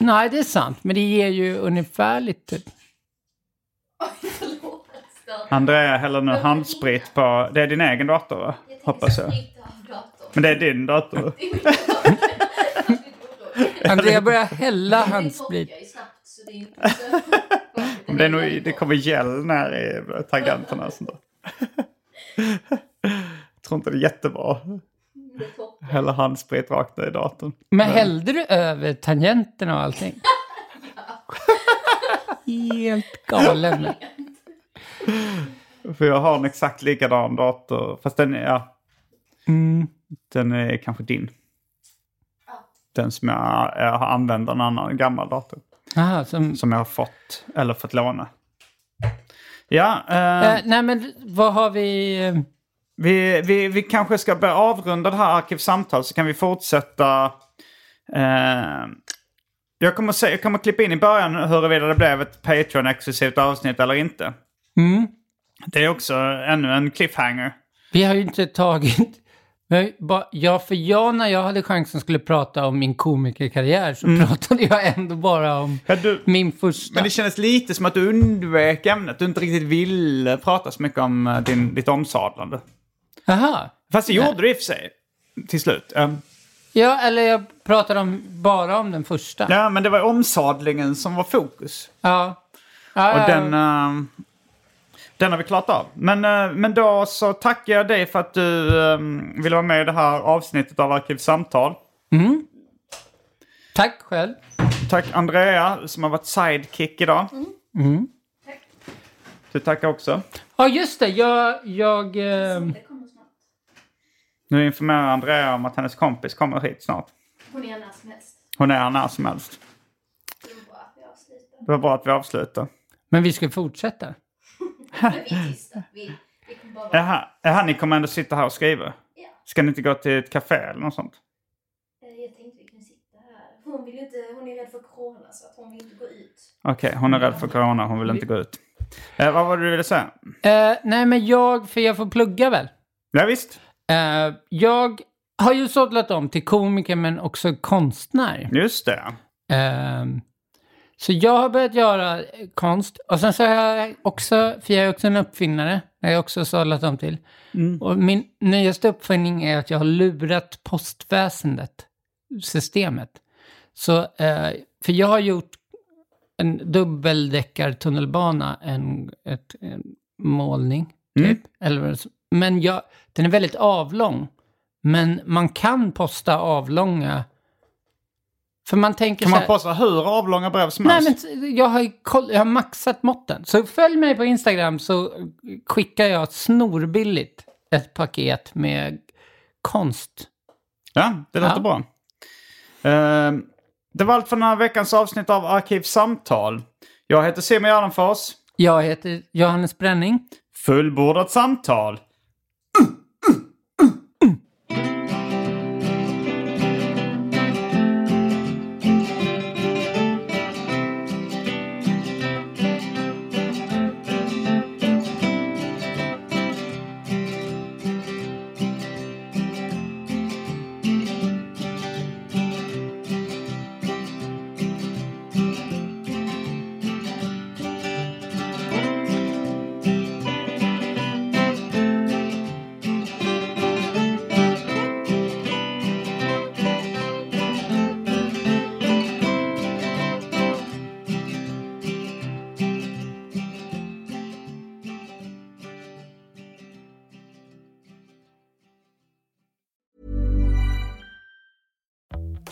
Nej, det är sant. Men det ger ju ungefärligt typ. Andrea häller nu handsprit på... Det är din egen dator va? Hoppas jag. Men det är din dator. Alltså, Andrea börjar hälla handsprit. Men Det, är nog, det kommer gel när i tangenterna och sånt där. Jag tror inte det är jättebra. Häller handsprit rakt ner i datorn. Men hällde du över tangenterna och allting? Helt galen. För jag har en exakt likadan dator. Fast den är... Ja, Den är kanske din. Den som jag, jag använder en annan gammal dator. Aha, som... jag har fått, eller fått låna. Ja, eh, Eh, nej, men vad har vi... eh, vi, vi, vi kanske ska börja avrunda det här arkivsamtalet så kan vi fortsätta. eh, jag, kommer se, jag kommer klippa in i början huruvida det blev ett Patreon-exklusivt avsnitt eller inte. Mm. Det är också ännu en cliffhanger. Vi har ju inte tagit... vi har ju bara- Ja, för jag när jag hade chansen skulle prata om min komikerkarriär så pratade jag ändå bara om min första. Men det kändes lite som att du undvek ämnet. Du inte riktigt ville prata så mycket om eh, din, ditt omsadlande. Aha. Fast det Nej. gjorde du i och för sig. Till slut. Eh, Ja, eller jag pratade om, bara om den första. ja, men det var omsadlingen som var fokus. Ja. Ja, ja, Och ja. den, eh, den har vi klarat av. Men, eh, men då så tackar jag dig för att du eh, ville vara med i det här avsnittet av Arkivsamtal. Mm. Tack själv. Tack Andrea som har varit sidekick idag. Mm. Du tackar också. Ja, just det. Jag... jag ehm, Nu informerar Andrea om att hennes kompis kommer hit snart. Hon är när som helst. Hon är här när som helst. Det var bra att vi avslutar. men vi ska fortsätta. Men vi är tysta. Vi, vi kommer bara vara... Jaha, jaha, ni kommer ändå sitta här och skriva? Ska ni inte gå till ett café eller något sånt? Eh, Jag tänkte vi kunde sitta här. Hon, vill ju inte, hon är rädd för corona så att hon vill inte gå ut. Okej, hon är rädd för corona. Hon vill inte gå ut. Eh, vad var det du ville säga? Eh, nej, men jag, för jag får plugga väl? Ja, visst. Eh, jag har ju sådlat om till komiker men också konstnär. Just det. Ehm, så jag har börjat göra konst. Och sen så har jag också, för jag är också en uppfinnare, jag har jag också sadlat om till. Mm. Och min nyaste uppfinning är att jag har lurat postväsendet, systemet. Så, eh, för jag har gjort en dubbeldäckartunnelbana, en, ett, en målning, typ. Mm. Eller, vad det så- men jag, den är väldigt avlång. Men man kan posta avlånga... För man tänker Kan så man här- posta hur avlånga brev som Nej, helst? men t- jag har, ju koll, jag har maxat måtten. Så följ mig på Instagram så skickar jag snorbilligt ett paket med konst. Ja, det låter Ja. bra. Ehm, det var allt för den här veckans avsnitt av Arkivsamtal. Jag heter Simon Gärdenfors. Jag heter Johannes Bränning. Fullbordat samtal.